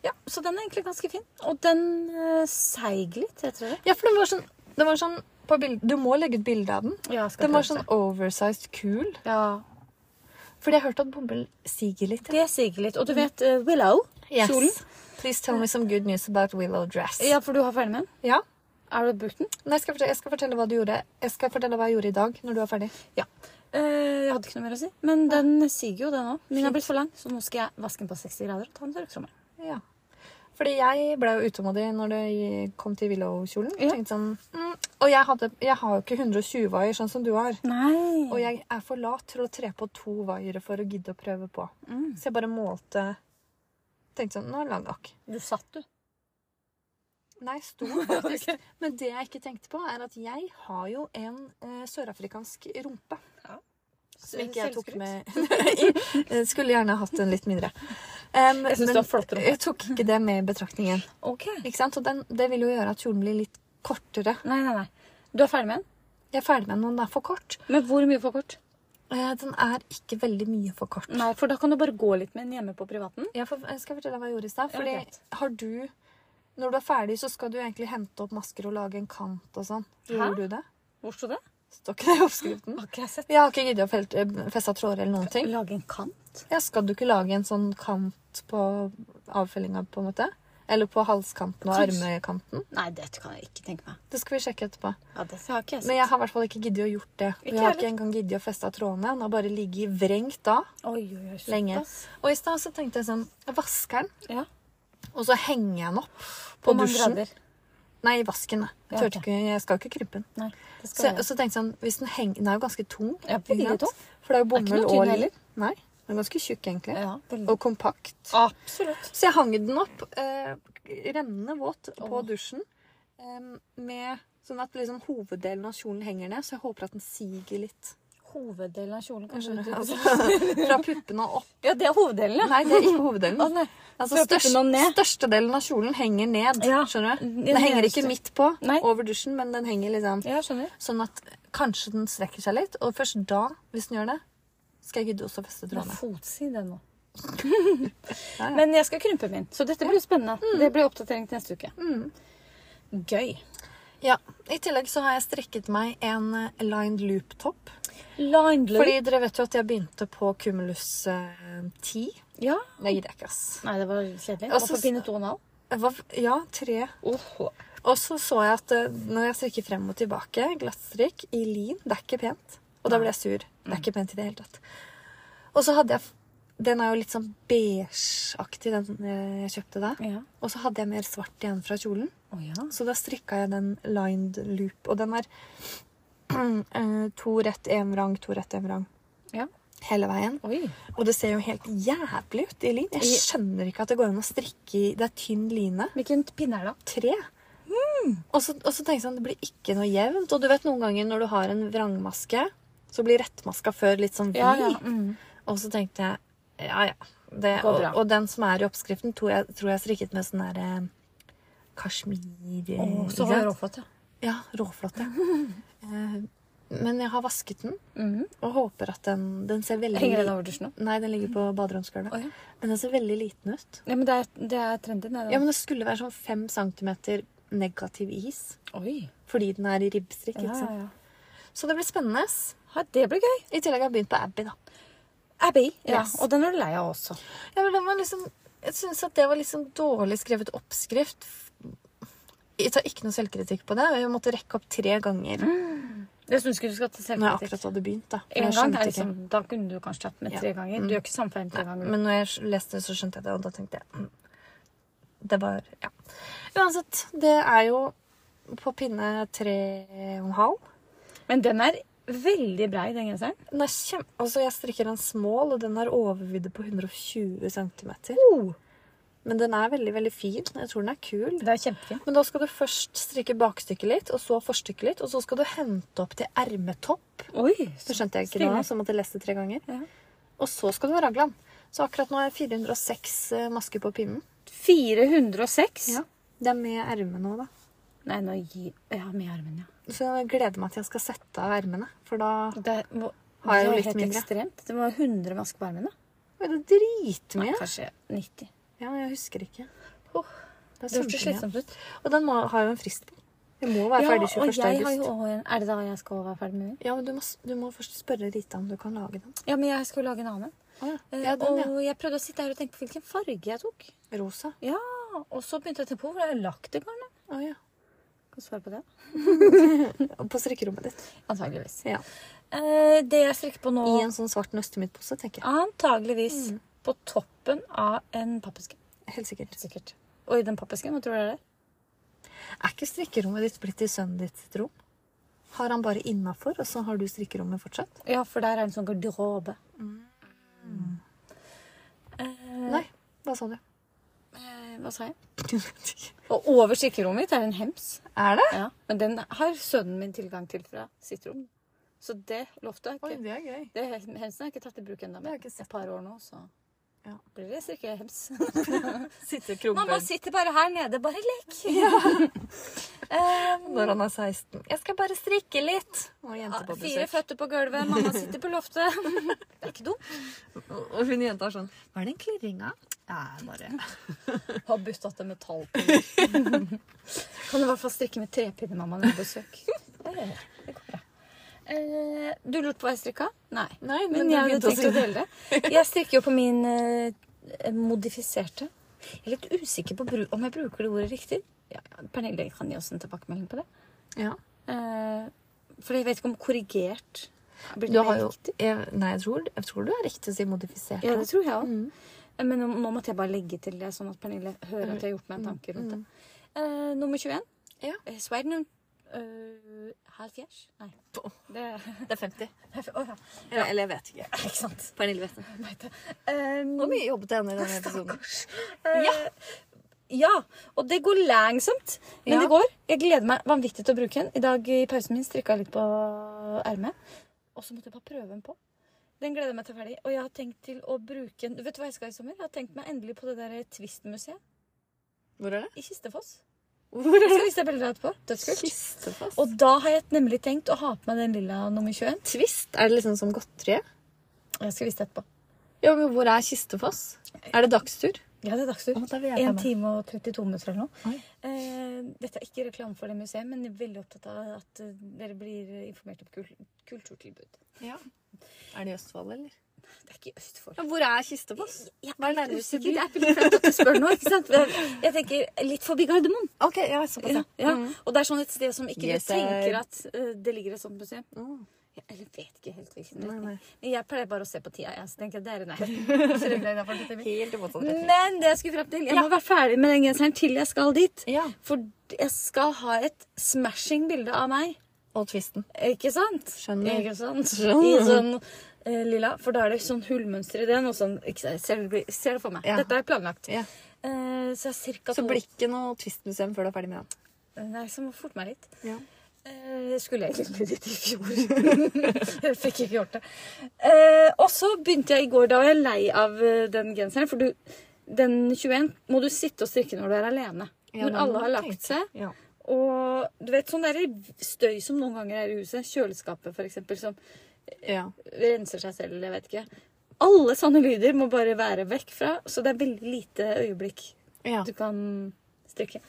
Speaker 2: Ja, så den er egentlig ganske fin. Og den eh, seig litt, heter det.
Speaker 1: Ja, for den var sånn, den var sånn på bild, Du må legge ut bilde av den.
Speaker 2: Ja,
Speaker 1: Den var sånn oversized kul.
Speaker 2: Ja,
Speaker 1: Fordi jeg hørte at bomull siger litt.
Speaker 2: det siger litt. Og du vet eh, Willow? Kjolen?
Speaker 1: Please tell me some good news about Willow dress.
Speaker 2: Ja, for du har ferdig med den?
Speaker 1: Ja.
Speaker 2: Har du brukt den?
Speaker 1: Nei, jeg skal, fortelle, jeg skal fortelle hva du gjorde Jeg skal fortelle hva jeg gjorde i dag, når du er ferdig.
Speaker 2: Ja. Eh, jeg hadde ikke noe mer å si. Men den siger jo, den òg. Min har blitt for lang, så nå skal jeg vaske den på 60 grader og ta den til røyksommeren.
Speaker 1: Ja. Fordi jeg ble jo utålmodig når det kom til Willow-kjolen.
Speaker 2: Ja.
Speaker 1: Tenkte Sånn, mm. Og jeg, hadde, jeg har jo ikke 120 vaier sånn som du har.
Speaker 2: Nei.
Speaker 1: Og jeg er for lat til å tre på to vaiere for å gidde å prøve på.
Speaker 2: Mm.
Speaker 1: Så jeg bare målte Tenkte sånn Nå er det lang nok.
Speaker 2: Du satt, du.
Speaker 1: Nei, stor faktisk. Men det jeg ikke tenkte på, er at jeg har jo en eh, sørafrikansk rumpe.
Speaker 2: Ja.
Speaker 1: Som ikke jeg tok
Speaker 2: Selvskryt.
Speaker 1: med Jeg Skulle gjerne hatt en litt mindre. Em,
Speaker 2: Jeg synes
Speaker 1: men
Speaker 2: du har flott rumpe.
Speaker 1: jeg tok ikke det med i betraktningen.
Speaker 2: OK.
Speaker 1: Ikke sant? Og den, det vil jo gjøre at kjolen blir litt kortere.
Speaker 2: Nei, nei, nei. Du er ferdig med den?
Speaker 1: Jeg er ferdig med den, og den er for kort.
Speaker 2: Men hvor mye for kort?
Speaker 1: Eh, Den er ikke veldig mye for kort.
Speaker 2: Nei, for da kan du bare gå litt med den hjemme på privaten.
Speaker 1: Jeg får, jeg skal fortelle deg hva jeg gjorde i stad.
Speaker 2: Ja,
Speaker 1: Fordi
Speaker 2: greit.
Speaker 1: har du Når du er ferdig, så skal du egentlig hente opp masker og lage en kant og sånn. Gjorde du det?
Speaker 2: Hvor sto det?
Speaker 1: Står ikke det i oppskriften?
Speaker 2: Har ikke jeg sett.
Speaker 1: Jeg har ikke giddet å felte, feste tråder eller noen ting.
Speaker 2: Lage en kant?
Speaker 1: Ja, skal du ikke lage en sånn kant på avfellinga, på en måte? Eller på halskanten og
Speaker 2: Kanskje.
Speaker 1: armekanten?
Speaker 2: Nei, det kan jeg ikke tenke meg.
Speaker 1: Det skal vi sjekke etterpå.
Speaker 2: Ja, det har ikke jeg sett.
Speaker 1: Men jeg har i hvert fall ikke giddet å gjort det.
Speaker 2: Ikke
Speaker 1: Vi har
Speaker 2: heller.
Speaker 1: ikke engang giddet å feste av trådene. Den har bare ligget vrengt da,
Speaker 2: Oi, oi, oi, såpass.
Speaker 1: lenge. Og i stad så tenkte jeg sånn Jeg vasker den,
Speaker 2: Ja.
Speaker 1: og så henger jeg den opp på
Speaker 2: Hvor mange
Speaker 1: dusjen.
Speaker 2: grader?
Speaker 1: Nei, i vasken. da. Jeg,
Speaker 2: Ja, ok.
Speaker 1: tørte ikke, jeg skal jo ikke krympe den.
Speaker 2: Nei, det
Speaker 1: Så,
Speaker 2: skal jeg.
Speaker 1: så tenkte jeg sånn, hvis den henger Den er jo ganske tung.
Speaker 2: Ja,
Speaker 1: ikke
Speaker 2: veldig
Speaker 1: sant?
Speaker 2: tung.
Speaker 1: For det er jo
Speaker 2: Er ikke noe
Speaker 1: bomull
Speaker 2: tynn
Speaker 1: og
Speaker 2: heller.
Speaker 1: lin. Nei, den er ganske tjukk, egentlig.
Speaker 2: Ja, veldig.
Speaker 1: og kompakt.
Speaker 2: Absolutt.
Speaker 1: Så jeg hang den opp, eh, rennende våt, på
Speaker 2: Åh.
Speaker 1: dusjen. Eh, med, sånn at liksom hoveddelen av kjolen henger ned, så jeg håper at den siger litt.
Speaker 2: Hoveddelen av kjolen, kanskje. du-
Speaker 1: Altså, fra puppene og opp.
Speaker 2: Ja, det er hoveddelen, ja.
Speaker 1: Nei, det er ikke hoveddelen.
Speaker 2: Å, nei.
Speaker 1: Altså,
Speaker 2: Fra puppene og ned.
Speaker 1: Størstedelen av kjolen henger ned.
Speaker 2: Ja.
Speaker 1: Skjønner du?
Speaker 2: Den
Speaker 1: Den henger ikke
Speaker 2: nederste.
Speaker 1: midt på
Speaker 2: Nei.
Speaker 1: over dusjen, men den henger liksom
Speaker 2: Ja, skjønner.
Speaker 1: sånn at kanskje den strekker seg litt. Og først da, hvis den gjør det, skal jeg gidde også å feste
Speaker 2: Det er
Speaker 1: trådene.
Speaker 2: fotside nå.
Speaker 1: Ja, Mm. ja.
Speaker 2: Men jeg skal krympe min, så dette blir jo spennende. Det blir oppdatering til neste uke.
Speaker 1: Mm.
Speaker 2: Gøy.
Speaker 1: Ja. I tillegg så har jeg strekket meg en eh, lined loop-topp.
Speaker 2: Lined loop.
Speaker 1: Fordi dere vet jo at jeg begynte på Cumulus eh, 10.
Speaker 2: Ja.
Speaker 1: Det gidder jeg ikke, ass.
Speaker 2: Nei, det var kjedelig.
Speaker 1: Og så-
Speaker 2: Hvorfor pinne to og en halv?
Speaker 1: Jeg var- Ja, tre.
Speaker 2: Oho.
Speaker 1: Og så så jeg at eh, når jeg strikker frem og tilbake, glattstrikk i lin, det er ikke pent. Og da ble jeg sur. Det er ikke pent i det hele tatt. Og så hadde jeg f- Den er jo litt sånn beigeaktig, den eh, jeg kjøpte da.
Speaker 2: Ja.
Speaker 1: Og så hadde jeg mer svart igjen fra kjolen.
Speaker 2: Å ja.
Speaker 1: Så da strikka jeg den lined loop, og den er eh, to rett, én vrang, to rett, én vrang.
Speaker 2: ja.
Speaker 1: Hele veien.
Speaker 2: Oi.
Speaker 1: Og det ser jo helt jævlig ut i lin. Jeg skjønner ikke at det går an å strikke i Det er tynn line.
Speaker 2: Hvilken pinne er det? da?
Speaker 1: Tre. Og så, og så tenker jeg sånn, det blir ikke noe jevnt. Og du vet noen ganger når du har en vrangmaske, Så blir rettmaska før litt sånn vid.
Speaker 2: Ja, ja. Mm.
Speaker 1: Og så tenkte jeg ja, ja. Det,
Speaker 2: Går
Speaker 1: og,
Speaker 2: bra.
Speaker 1: og den som er i oppskriften, tror jeg, tror jeg strikket med sånn derre kasjmir eh,
Speaker 2: Å, så
Speaker 1: ikke
Speaker 2: har jeg
Speaker 1: sant?
Speaker 2: råfått, ja.
Speaker 1: Ja, råflott. Ja. Eh, Men jeg har vasket den,
Speaker 2: Mhm.
Speaker 1: og håper at den, den ser veldig
Speaker 2: Henger den
Speaker 1: li-
Speaker 2: over dusjen nå?
Speaker 1: Nei, den ligger på baderomsgulvet.
Speaker 2: Å, ja.
Speaker 1: Men den ser veldig liten ut.
Speaker 2: Ja, men det er, det er trendy. det er det.
Speaker 1: Ja, men det skulle være sånn fem centimeter negativ is.
Speaker 2: Oi.
Speaker 1: Fordi den er i ribbstrikk.
Speaker 2: Ja,
Speaker 1: ikke
Speaker 2: ja,
Speaker 1: sant?
Speaker 2: ja.
Speaker 1: Så det blir spennende.
Speaker 2: Ja, det blir gøy.
Speaker 1: I tillegg har jeg begynt på Abbey, da.
Speaker 2: Abbey. Ja,
Speaker 1: Yes.
Speaker 2: og den er du lei av også.
Speaker 1: Ja, men den var liksom, jeg syns at det var liksom dårlig skrevet oppskrift. Jeg tar ikke noe selvkritikk på det. og Jeg måtte rekke opp tre ganger
Speaker 2: Jeg syns ikke du skal ta
Speaker 1: når jeg
Speaker 2: selvkritikk.
Speaker 1: akkurat hadde begynt. da. For
Speaker 2: Mm, En
Speaker 1: jeg
Speaker 2: gang
Speaker 1: skjønte
Speaker 2: er
Speaker 1: ikke.
Speaker 2: liksom, Da kunne du kanskje tatt med
Speaker 1: Ja.
Speaker 2: tre ganger. Du gjør ikke samme feilen tre ganger.
Speaker 1: Men når jeg leste det, så skjønte jeg det, og da tenkte jeg mm, Det var Ja. Uansett, det er jo på pinne tre og en halv.
Speaker 2: Men den er veldig brei, den genseren.
Speaker 1: Den er kjem... Altså, jeg strikker en small, og den har overvidde på 120 cm. Men den er veldig, veldig fin. Jeg tror den er kul.
Speaker 2: Oh! Det er kjempefint.
Speaker 1: Men da skal du først strikke bakstykket litt, og så forstykket litt, og så skal du hente opp til ermetopp.
Speaker 2: Oi!
Speaker 1: Det skjønte jeg ikke
Speaker 2: Stilig.
Speaker 1: nå, så jeg måtte lese det tre ganger.
Speaker 2: Ja.
Speaker 1: Og så skal du ha raglan. Så akkurat nå er 406 eh, masker på pinnen.
Speaker 2: 406.
Speaker 1: Det er med erme nå, da.
Speaker 2: Nei, nå gi... Ja, med armen, ja.
Speaker 1: Så jeg gleder meg til jeg skal sette av ermene, for da
Speaker 2: Det er, må...
Speaker 1: Har jeg
Speaker 2: det
Speaker 1: jo
Speaker 2: er
Speaker 1: litt
Speaker 2: helt
Speaker 1: mindre.
Speaker 2: ekstremt. Det må være 100 masker på armen, da.
Speaker 1: er det dritmye.
Speaker 2: Kanskje 90.
Speaker 1: Ja, men jeg husker ikke.
Speaker 2: Åh,
Speaker 1: Det
Speaker 2: Det
Speaker 1: er
Speaker 2: hørtes
Speaker 1: kjempemye.
Speaker 2: slitsomt ut.
Speaker 1: Og den må, har jo en frist på. Den må være ferdig 21.
Speaker 2: og jeg har
Speaker 1: august.
Speaker 2: jo også en Er det da jeg skal være ferdig med den?
Speaker 1: Ja, men du må, s- du må først spørre Rita om du kan lage den.
Speaker 2: Ja, men jeg skal jo lage en annen.
Speaker 1: ja.
Speaker 2: Eh,
Speaker 1: den, ja.
Speaker 2: og jeg prøvde å sitte her og tenke på hvilken farge jeg tok.
Speaker 1: Rosa.
Speaker 2: Ja, Og så begynte jeg å tenke på hvor har jeg lagt det garnet.
Speaker 1: Å, ja.
Speaker 2: Kan du svare på det?
Speaker 1: Og På strikkerommet ditt.
Speaker 2: Antageligvis.
Speaker 1: Ja.
Speaker 2: Eh, det jeg strikker på nå
Speaker 1: I en sånn svart nøstemiddpose, tenker jeg.
Speaker 2: Antageligvis på toppen av en pappeske.
Speaker 1: Helt sikkert.
Speaker 2: Sikkert. Og i den pappesken, hva tror dere det er?
Speaker 1: Er ikke strikkerommet ditt blitt til sønnen ditt sitt rom? Har han bare innafor, og så har du strikkerommet fortsatt?
Speaker 2: Ja, for der er en sånn garderobe.
Speaker 1: Nei. Hva sa du?
Speaker 2: Eh, hva sa jeg?
Speaker 1: er
Speaker 2: Og over strikkerommet mitt er en hems.
Speaker 1: det?
Speaker 2: Ja, Men den har sønnen min tilgang til fra sitt rom. Så det lovte jeg ikke.
Speaker 1: det er gøy.
Speaker 2: Det hemsen har jeg ikke tatt i bruk ennå.
Speaker 1: Det har
Speaker 2: men
Speaker 1: jeg ikke sett.
Speaker 2: Et par år nå, så
Speaker 1: Ja.
Speaker 2: blir det strikkehems.
Speaker 1: Sitter
Speaker 2: Mamma sitter bare her nede. Bare lek! um,
Speaker 1: når han er 16. Jeg skal bare strikke litt. Ah, Og jente på
Speaker 2: fire
Speaker 1: besøk.
Speaker 2: føtter på gulvet, mamma sitter på loftet. Det er ikke dumt.
Speaker 1: Og hun jenta er sånn Hva er den klirringa? Ja, bare
Speaker 2: Har bytta til metallpinne. kan du i hvert fall strikke med trepinne, mamma, når du er på besøk. Det går bra. Eh, Du lurte på hva jeg strikka? Nei.
Speaker 1: Nei, men
Speaker 2: Men
Speaker 1: du
Speaker 2: jeg hadde
Speaker 1: begynte å
Speaker 2: tenkt å
Speaker 1: strikke.
Speaker 2: dele det. Jeg strikker jo på min eh, modifiserte. Jeg er litt usikker på bru- om jeg bruker det ordet riktig. Ja, ja, Pernille kan gi oss en tilbakemelding på det.
Speaker 1: Ja.
Speaker 2: Eh, For jeg vet ikke om korrigert blir
Speaker 1: Du
Speaker 2: det
Speaker 1: har
Speaker 2: mer
Speaker 1: jo
Speaker 2: riktig.
Speaker 1: jeg, Nei, jeg tror, jeg tror du er riktig å si modifisert.
Speaker 2: Ja, det tror jeg òg.
Speaker 1: Mm.
Speaker 2: Mm. Men nå- nå måtte jeg bare legge til det, sånn at Pernille hører at jeg har gjort meg en tanke rundt det. Eh, nummer 21.
Speaker 1: Ja.
Speaker 2: Eh, Sweden eh, Halvfjerds? Nei. Det
Speaker 1: Det er 50.
Speaker 2: Å ja.
Speaker 1: Eller, eller jeg vet ikke.
Speaker 2: Ikke sant.
Speaker 1: Pernille vet det.
Speaker 2: Vet jeg. Um,
Speaker 1: Hvor mye jobbet jeg med i denne episoden?
Speaker 2: ja. ja. Og det går langsomt, men
Speaker 1: Ja.
Speaker 2: det går. Jeg gleder meg vanvittig til å bruke den. I dag i pausen min strikka jeg litt på ermet. Og så måtte jeg bare prøve den på. Den gleder jeg meg til ferdig. Og jeg har tenkt til å bruke den Vet du hva jeg skal i sommer? Jeg har tenkt meg endelig på det der Twist-museet
Speaker 1: Hvor er det?
Speaker 2: i Kistefoss.
Speaker 1: Hvor er
Speaker 2: Jeg skal vise deg bilder av etterpå. Dødskult.
Speaker 1: Kistefast.
Speaker 2: Og da har jeg nemlig tenkt å ha på meg den lilla nummer 21.
Speaker 1: Twist? Er det liksom som godteriet?
Speaker 2: Jeg skal vise deg etterpå.
Speaker 1: Ja, men hvor er Kistefoss? Er det dagstur?
Speaker 2: Ja, det er dagstur.
Speaker 1: Å, da vil jeg ta
Speaker 2: 1
Speaker 1: med.
Speaker 2: time og 32 minutter eller noe.
Speaker 1: Oi.
Speaker 2: Eh, dette er ikke reklame for det museet, men jeg er veldig opptatt av at eh, dere blir informert om kul kulturtilbud.
Speaker 1: Ja. Er det i Østfold, eller?
Speaker 2: Det er ikke i Østfold.
Speaker 1: Ja, hvor er Kistefoss?
Speaker 2: Jeg
Speaker 1: Hva
Speaker 2: er
Speaker 1: er
Speaker 2: litt
Speaker 1: nærmeste
Speaker 2: usikker.
Speaker 1: by?
Speaker 2: Det er veldig flaut at du spør nå, ikke sant? Jeg- Jeg tenker litt forbi Gardermoen.
Speaker 1: Ok, ja, såpass,
Speaker 2: Ja, ja. Og det er sånn et sted som ikke
Speaker 1: Yes,
Speaker 2: du tenker
Speaker 1: I-
Speaker 2: at eh, det ligger et sånt museum.
Speaker 1: Mm.
Speaker 2: Ja, eller vet ikke helt hvilken
Speaker 1: Nei,
Speaker 2: retning.
Speaker 1: nei.
Speaker 2: Men Jeg pleier bare å se på tida, jeg. Så tenker jeg det er i nærheten. Så det blir derfor dette blir-
Speaker 1: Helt i motsatt retning.
Speaker 2: Men det jeg skulle frem til Jeg må være ferdig med den genseren til jeg skal dit.
Speaker 1: Ja.
Speaker 2: For jeg skal ha et smashing bilde av meg.
Speaker 1: Og Twisten.
Speaker 2: Ikke sant?
Speaker 1: Skjønner.
Speaker 2: Ikke sant? I
Speaker 1: Skjønner.
Speaker 2: sånn eh, lilla. For da er det sånn hullmønster i den. Og sånn, ikke, sant? ser, du- ser det for meg.
Speaker 1: Ja.
Speaker 2: Dette er planlagt.
Speaker 1: Ja.
Speaker 2: Eh, så jeg er cirka
Speaker 1: Så
Speaker 2: to-
Speaker 1: blir ikke noe Twist-museum før du er ferdig med den.
Speaker 2: Nei, så må jeg forte meg litt.
Speaker 1: Ja.
Speaker 2: Eh, skulle jeg egentlig dit i fjor. jeg fikk ikke gjort det. Eh, og så begynte jeg i går, da var jeg lei av eh, den genseren. For du, den 21 må du sitte og strikke når du er alene. når
Speaker 1: Ja, den
Speaker 2: alle har
Speaker 1: tenkte
Speaker 2: lagt seg.
Speaker 1: Ja.
Speaker 2: Og du vet sånn der støy som noen ganger er i huset. Kjøleskapet, for eksempel, som
Speaker 1: ja.
Speaker 2: renser seg selv, jeg vet ikke. Alle sånne lyder må bare være vekk fra, så det er veldig lite øyeblikk
Speaker 1: ja.
Speaker 2: du kan strikke.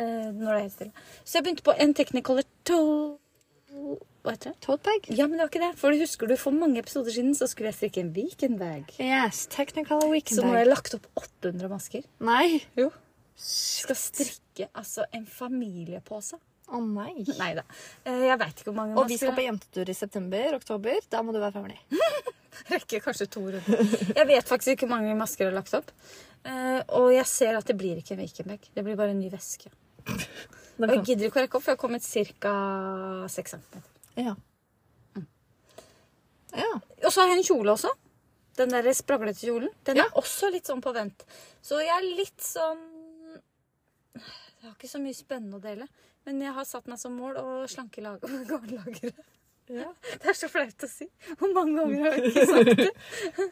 Speaker 2: eh, når det er helt stille. Så jeg begynte på en Technicolor Toe Hva heter det?
Speaker 1: Tote bag.
Speaker 2: Ja, men det var ikke det. For det husker du, for mange episoder siden så skulle jeg strikke en Vikenbag.
Speaker 1: Yes, technical weekend
Speaker 2: Så nå har jeg lagt opp 800 masker.
Speaker 1: Nei.
Speaker 2: Jo.
Speaker 1: Å
Speaker 2: Skal strikke altså en familiepose.
Speaker 1: nei.
Speaker 2: Nei da. Eh, Jeg veit ikke hvor mange
Speaker 1: Og vi skal
Speaker 2: masker
Speaker 1: på jentetur i september-oktober. Da må du være ferdig.
Speaker 2: jeg rekker. Kanskje to runder. Jeg vet faktisk ikke hvor mange masker jeg har lagt opp. Eh, Og jeg ser at det blir ikke en Vikenbag. Det blir bare en ny veske. Og jeg gidder ikke å rekke opp, for jeg har kommet ca. 6 cm.
Speaker 1: Ja. Mm. Ja.
Speaker 2: Og så har jeg en kjole også. Den der spraglete kjolen. Den
Speaker 1: Ja.
Speaker 2: er også litt sånn på vent. Så jeg er litt sånn Jeg har ikke så mye spennende å dele. Men jeg har satt meg som mål å slanke lag- garnlageret. Det er så flaut å si. Hvor mange ganger har jeg ikke sagt det?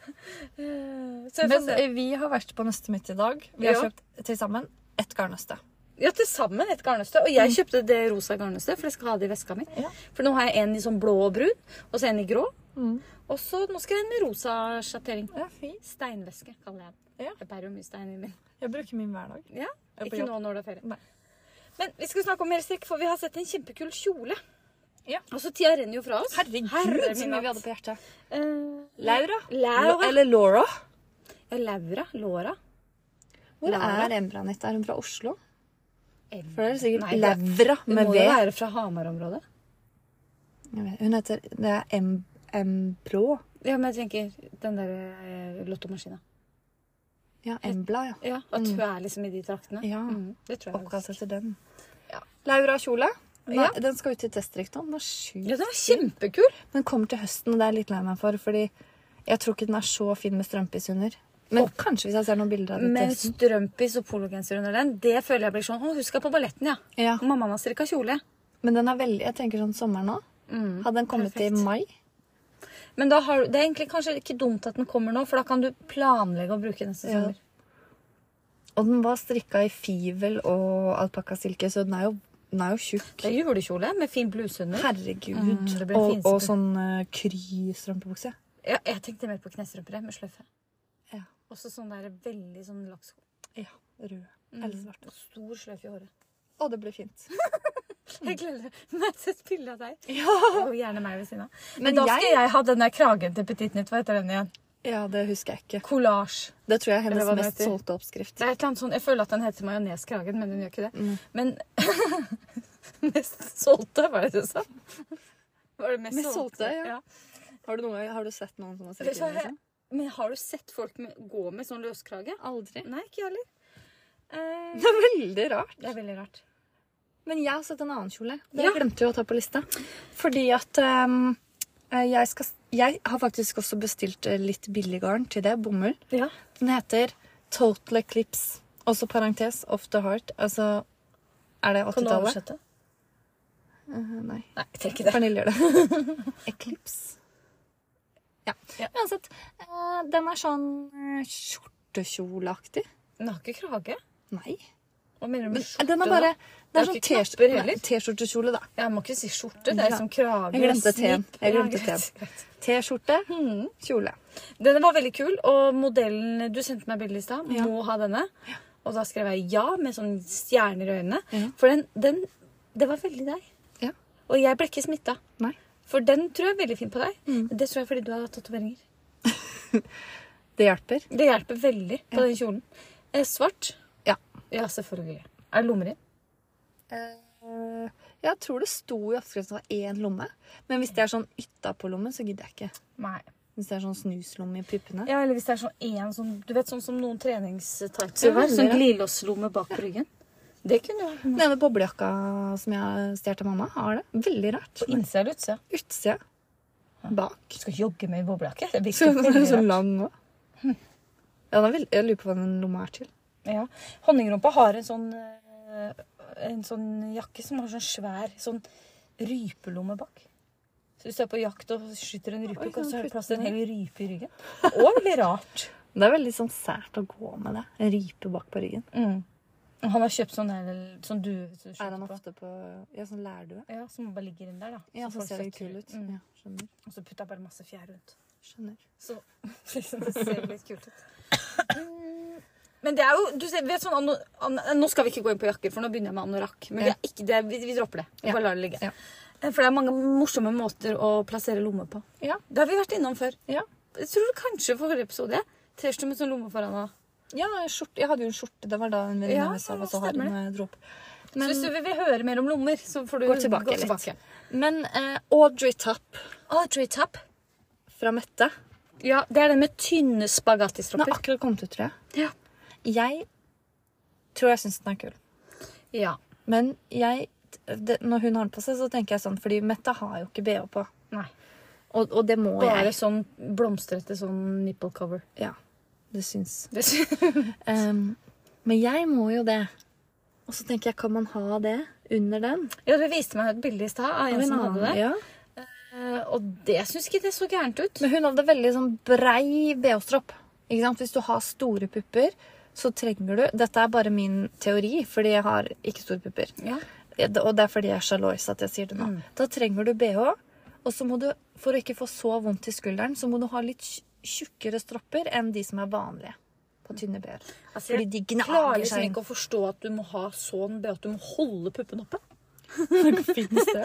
Speaker 2: Eh, Så jeg får
Speaker 1: Men
Speaker 2: se.
Speaker 1: eh, vi har vært på nøstet mitt i dag. Vi har
Speaker 2: Ja.
Speaker 1: kjøpt til sammen ett garnnøste.
Speaker 2: Ja, til sammen et garnnøste. Og jeg kjøpte det rosa garnnøstet, for jeg skal ha det i veska mi.
Speaker 1: Ja.
Speaker 2: For nå har jeg en i sånn blå og brun, og så en i grå. Og så nå skal jeg ha en med rosa sjattering.
Speaker 1: Ja, fint.
Speaker 2: Steinveske, kaller jeg den.
Speaker 1: Ja.
Speaker 2: Jeg bærer jo mye stein i min.
Speaker 1: Jeg bruker min hver dag.
Speaker 2: Ja,
Speaker 1: Jeg er på
Speaker 2: Ikke
Speaker 1: jobb.
Speaker 2: nå når det er ferie.
Speaker 1: Nei.
Speaker 2: Men vi skal snakke om mer strikk, for vi har sett en kjempekul kjole.
Speaker 1: Ja.
Speaker 2: Og så tida renner jo fra oss.
Speaker 1: Herregud,
Speaker 2: Herre
Speaker 1: så
Speaker 2: min
Speaker 1: mye vi
Speaker 2: hatt.
Speaker 1: hadde på hjertet.
Speaker 2: Eh,
Speaker 1: Laura.
Speaker 2: Laura.
Speaker 1: Eller Laura.
Speaker 2: ja, Laura. Laura.
Speaker 1: Hvor
Speaker 2: Laura.
Speaker 1: er Embra Anette? Er hun fra Oslo?
Speaker 2: Em-
Speaker 1: For det er sikkert
Speaker 2: Nei, det-
Speaker 1: Laura
Speaker 2: Hun
Speaker 1: med
Speaker 2: må
Speaker 1: V.
Speaker 2: jo være fra Hamar-området.
Speaker 1: Jeg vet- Hun heter Det er Em- Embrå.
Speaker 2: Ja, men jeg tenker den der eh, lottomaskina.
Speaker 1: Ja, Embla, ja.
Speaker 2: Ja, At hun er liksom i de traktene.
Speaker 1: Mm. Ja.
Speaker 2: Mm, det tror jeg.
Speaker 1: Oppkalt
Speaker 2: faktisk.
Speaker 1: etter den.
Speaker 2: Ja.
Speaker 1: Laura kjole. Nei,
Speaker 2: Ja.
Speaker 1: Den skal ut i testdrikt nå. Den er sjukt
Speaker 2: Ja, den var kjempekul!
Speaker 1: Den kommer til høsten, og det er jeg litt lei meg for. Fordi jeg tror ikke den er så fin med strømpis under. Men kanskje hvis jeg ser noen bilder av den til
Speaker 2: Med
Speaker 1: høsten.
Speaker 2: strømpis og pologenser under den. Det føler jeg blir sånn Å, husk jeg på balletten, ja.
Speaker 1: Ja.
Speaker 2: Mammaen har strikka kjole.
Speaker 1: Men den er veldig Jeg tenker sånn sommer nå.
Speaker 2: Mm,
Speaker 1: Hadde den kommet
Speaker 2: perfekt.
Speaker 1: i mai?
Speaker 2: Men da har, du- det er egentlig kanskje ikke dumt at den kommer nå, for da kan du planlegge å bruke neste
Speaker 1: Ja.
Speaker 2: sommer.
Speaker 1: Og den var strikka i fivel og alpakkasilke, så den er jo, den er jo tjukk.
Speaker 2: Det er julekjole med fin bluse under.
Speaker 1: Herregud.
Speaker 2: Mm, det blir
Speaker 1: og,
Speaker 2: finstrømpe.
Speaker 1: og sånn eh, kry-strømpebukse.
Speaker 2: Ja, jeg tenkte mer på knestrømper jeg, med sløyfe.
Speaker 1: Ja.
Speaker 2: Også sånn der veldig sånn laksko.
Speaker 1: Ja, rød. Eller svart.
Speaker 2: Og stor sløyfe i håret.
Speaker 1: Å, det blir fint.
Speaker 2: Jeg gleder meg til et bilde av deg.
Speaker 1: Mm. Ja,
Speaker 2: Og gjerne meg ved siden av. Men,
Speaker 1: Men
Speaker 2: da skal
Speaker 1: jeg-
Speaker 2: jeg ha den der kragen til Petit Nytt. Hva heter den igjen?
Speaker 1: ja det husker jeg ikke.
Speaker 2: Collage.
Speaker 1: Det tror jeg er
Speaker 2: Eller hva
Speaker 1: hennes
Speaker 2: den
Speaker 1: mest
Speaker 2: heter.
Speaker 1: solgte oppskrift.
Speaker 2: Det er et eller annet sånn, Jeg føler at den heter majoneskragen, men den gjør ikke det.
Speaker 1: Mm.
Speaker 2: Men Mest solgte, var det det du sa? Var det mest,
Speaker 1: Mest solgte, ja.
Speaker 2: ja.
Speaker 1: Har du, noe, har du sett noen som har
Speaker 2: Vet
Speaker 1: strikket
Speaker 2: du hva,
Speaker 1: den? Liksom?
Speaker 2: Men har du sett folk med, gå med sånn løskrage?
Speaker 1: Aldri.
Speaker 2: Nei, ikke jeg heller. Eh,
Speaker 1: Det er veldig rart.
Speaker 2: det er veldig rart.
Speaker 1: Men jeg har sett en annen kjole. Det
Speaker 2: Ja.
Speaker 1: glemte jeg å ta på lista. Fordi at ehm, eh, jeg, skal, jeg har faktisk også bestilt eh, litt billiggarn til det. Bomull.
Speaker 2: Ja.
Speaker 1: Den heter Total Eclipse. Også parentes Off The Heart. Altså Er det
Speaker 2: Kan du
Speaker 1: 80-tallet?
Speaker 2: oversette?
Speaker 1: Eh, nei.
Speaker 2: Nei, jeg trenger ikke det.
Speaker 1: Pernille gjør det. Eclipse. Ja.
Speaker 2: Ja.
Speaker 1: Uansett. eh, den er sånn eh, skjortekjoleaktig.
Speaker 2: Den har ikke krage.
Speaker 1: Nei.
Speaker 2: Hva mener du med skjorte?
Speaker 1: Den er bare Det
Speaker 2: Det er
Speaker 1: er sånn
Speaker 2: ikke
Speaker 1: T-skjorte-
Speaker 2: knapper
Speaker 1: nei,
Speaker 2: heller.
Speaker 1: T-skjortekjole, da.
Speaker 2: da? Jeg må ikke si skjorte. Det er liksom krage.
Speaker 1: Jeg glemte
Speaker 2: og snipp.
Speaker 1: T-en. Jeg
Speaker 2: Ja,
Speaker 1: glemte
Speaker 2: greit,
Speaker 1: T-en.
Speaker 2: greit.
Speaker 1: T-skjorte, kjole.
Speaker 2: Denne var veldig kul, og modellen du sendte meg bilde i stad,
Speaker 1: Ja.
Speaker 2: må ha denne. Og da skrev jeg ja med sånne stjerner i øynene.
Speaker 1: Ja.
Speaker 2: For den, den Det var veldig deg.
Speaker 1: Ja.
Speaker 2: Og jeg ble ikke smitta.
Speaker 1: Nei.
Speaker 2: For den tror jeg er veldig fin på deg. Det tror jeg er fordi du har tatoveringer.
Speaker 1: Det hjelper.
Speaker 2: Det hjelper veldig på den kjolen. Eh, svart?
Speaker 1: Ja.
Speaker 2: Ja, selvfølgelig. Er det lommer i?
Speaker 1: Eh, jeg tror det sto i oppskriften at det var én lomme. Men hvis det er sånn ytterpålomme, så gidder jeg ikke.
Speaker 2: Nei.
Speaker 1: Hvis det er sånn snuslomme i puppene.
Speaker 2: Ja, eller hvis det er sånn en sånn Du vet sånn som noen treningstightser
Speaker 1: Ja,
Speaker 2: var? Sånn
Speaker 1: det.
Speaker 2: glidelåslomme bak på ryggen. Det kunne vært noe.
Speaker 1: Den ene boblejakka som jeg stjal av mamma, har det. Veldig rart.
Speaker 2: På innsida eller utsida?
Speaker 1: Utsida. Bak.
Speaker 2: Du skal jogge med i boblejakke. Det blir
Speaker 1: Så,
Speaker 2: ikke veldig
Speaker 1: så
Speaker 2: rart.
Speaker 1: lang òg. Ja, den er veld- jeg lurer på hva den lomma er til.
Speaker 2: Ja. Honningrumpa har en sånn eh, En sånn jakke som har sånn svær sånn rypelomme bak. Så hvis du er på jakt og skyter en
Speaker 1: Oi,
Speaker 2: rype,
Speaker 1: kan
Speaker 2: så
Speaker 1: du
Speaker 2: har du
Speaker 1: putte
Speaker 2: plass til en
Speaker 1: den?
Speaker 2: hel rype i ryggen. Og veldig rart.
Speaker 1: Det er veldig sånn sært å gå med det. En rype bak på ryggen.
Speaker 2: Mm. Og Han har kjøpt sånn her sånn due som du
Speaker 1: Er han
Speaker 2: skyter på.
Speaker 1: ofte på ja, sånn lærdue?
Speaker 2: Ja, Som bare ligger inni der, da.
Speaker 1: Ja, så
Speaker 2: folk
Speaker 1: ser det
Speaker 2: støtter-
Speaker 1: kul ut.
Speaker 2: Mm.
Speaker 1: Ja, skjønner.
Speaker 2: Og så putta jeg bare masse fjær rundt.
Speaker 1: skjønner.
Speaker 2: Så liksom, det ser litt kult ut. Mm, Men det er jo du ser, vet sånn, ano, an, Nå skal vi ikke gå inn på jakker, for nå begynner jeg med anorakk. Men vi,
Speaker 1: Ja.
Speaker 2: er ikke, det, vi, vi dropper det. Vi
Speaker 1: Ja.
Speaker 2: bare lar det ligge.
Speaker 1: Ja.
Speaker 2: Eh, For det er mange morsomme måter å plassere lommer på.
Speaker 1: Ja.
Speaker 2: Det har vi vært innom før.
Speaker 1: Ja.
Speaker 2: Jeg tror kanskje forrige episode. T-skjorte med sånn lomme foran. og-
Speaker 1: Ja, skjorte. Jeg hadde jo en skjorte. Det var da en venninne
Speaker 2: Ja,
Speaker 1: av meg sa
Speaker 2: ja,
Speaker 1: at hun hadde
Speaker 2: stemmer
Speaker 1: når jeg dro opp.
Speaker 2: Så
Speaker 1: Men,
Speaker 2: hvis du vil, vil høre mer om lommer, så får du
Speaker 1: Gå tilbake
Speaker 2: gå
Speaker 1: litt.
Speaker 2: tilbake.
Speaker 1: men eh, Audrey Tapp
Speaker 2: Audrey Tapp.
Speaker 1: fra Mette
Speaker 2: Ja, det er den med tynne
Speaker 1: Den har
Speaker 2: spagettistropper.
Speaker 1: akkurat kommet ut, tror jeg.
Speaker 2: Ja.
Speaker 1: Jeg tror jeg syns den er kul.
Speaker 2: Ja.
Speaker 1: Men jeg, det, når hun har den på seg, så tenker jeg sånn Fordi Mette har jo ikke BH på.
Speaker 2: Nei.
Speaker 1: Og, og det må
Speaker 2: Bare
Speaker 1: jeg.
Speaker 2: sånn blomstrete sånn nipple cover.
Speaker 1: Ja, det syns.
Speaker 2: Det
Speaker 1: Ehm, men jeg må jo det. Og så tenker jeg, kan man ha det under den?
Speaker 2: Ja, du viste meg et bilde i stad av en
Speaker 1: Av en
Speaker 2: som hadde
Speaker 1: annen,
Speaker 2: det.
Speaker 1: Ja.
Speaker 2: Eh, Og det syns ikke det så gærent ut.
Speaker 1: Men hun hadde veldig sånn brei BH-stropp. Ikke sant? Hvis du har store pupper, så trenger du Dette er bare min teori, fordi jeg har ikke store pupper.
Speaker 2: Ja.
Speaker 1: Og det er fordi jeg er sjalous at jeg sier det nå.
Speaker 2: Mm.
Speaker 1: Da trenger du BH, og så må du, for å ikke få så vondt i skulderen, så må du ha litt tj- tjukkere stropper enn de som er vanlige på tynne BH-er.
Speaker 2: Altså,
Speaker 1: Fordi de
Speaker 2: jeg klarer
Speaker 1: gnager
Speaker 2: liksom
Speaker 1: seg inn.
Speaker 2: ikke å forstå at du må ha sånn BH at du må holde puppen oppe.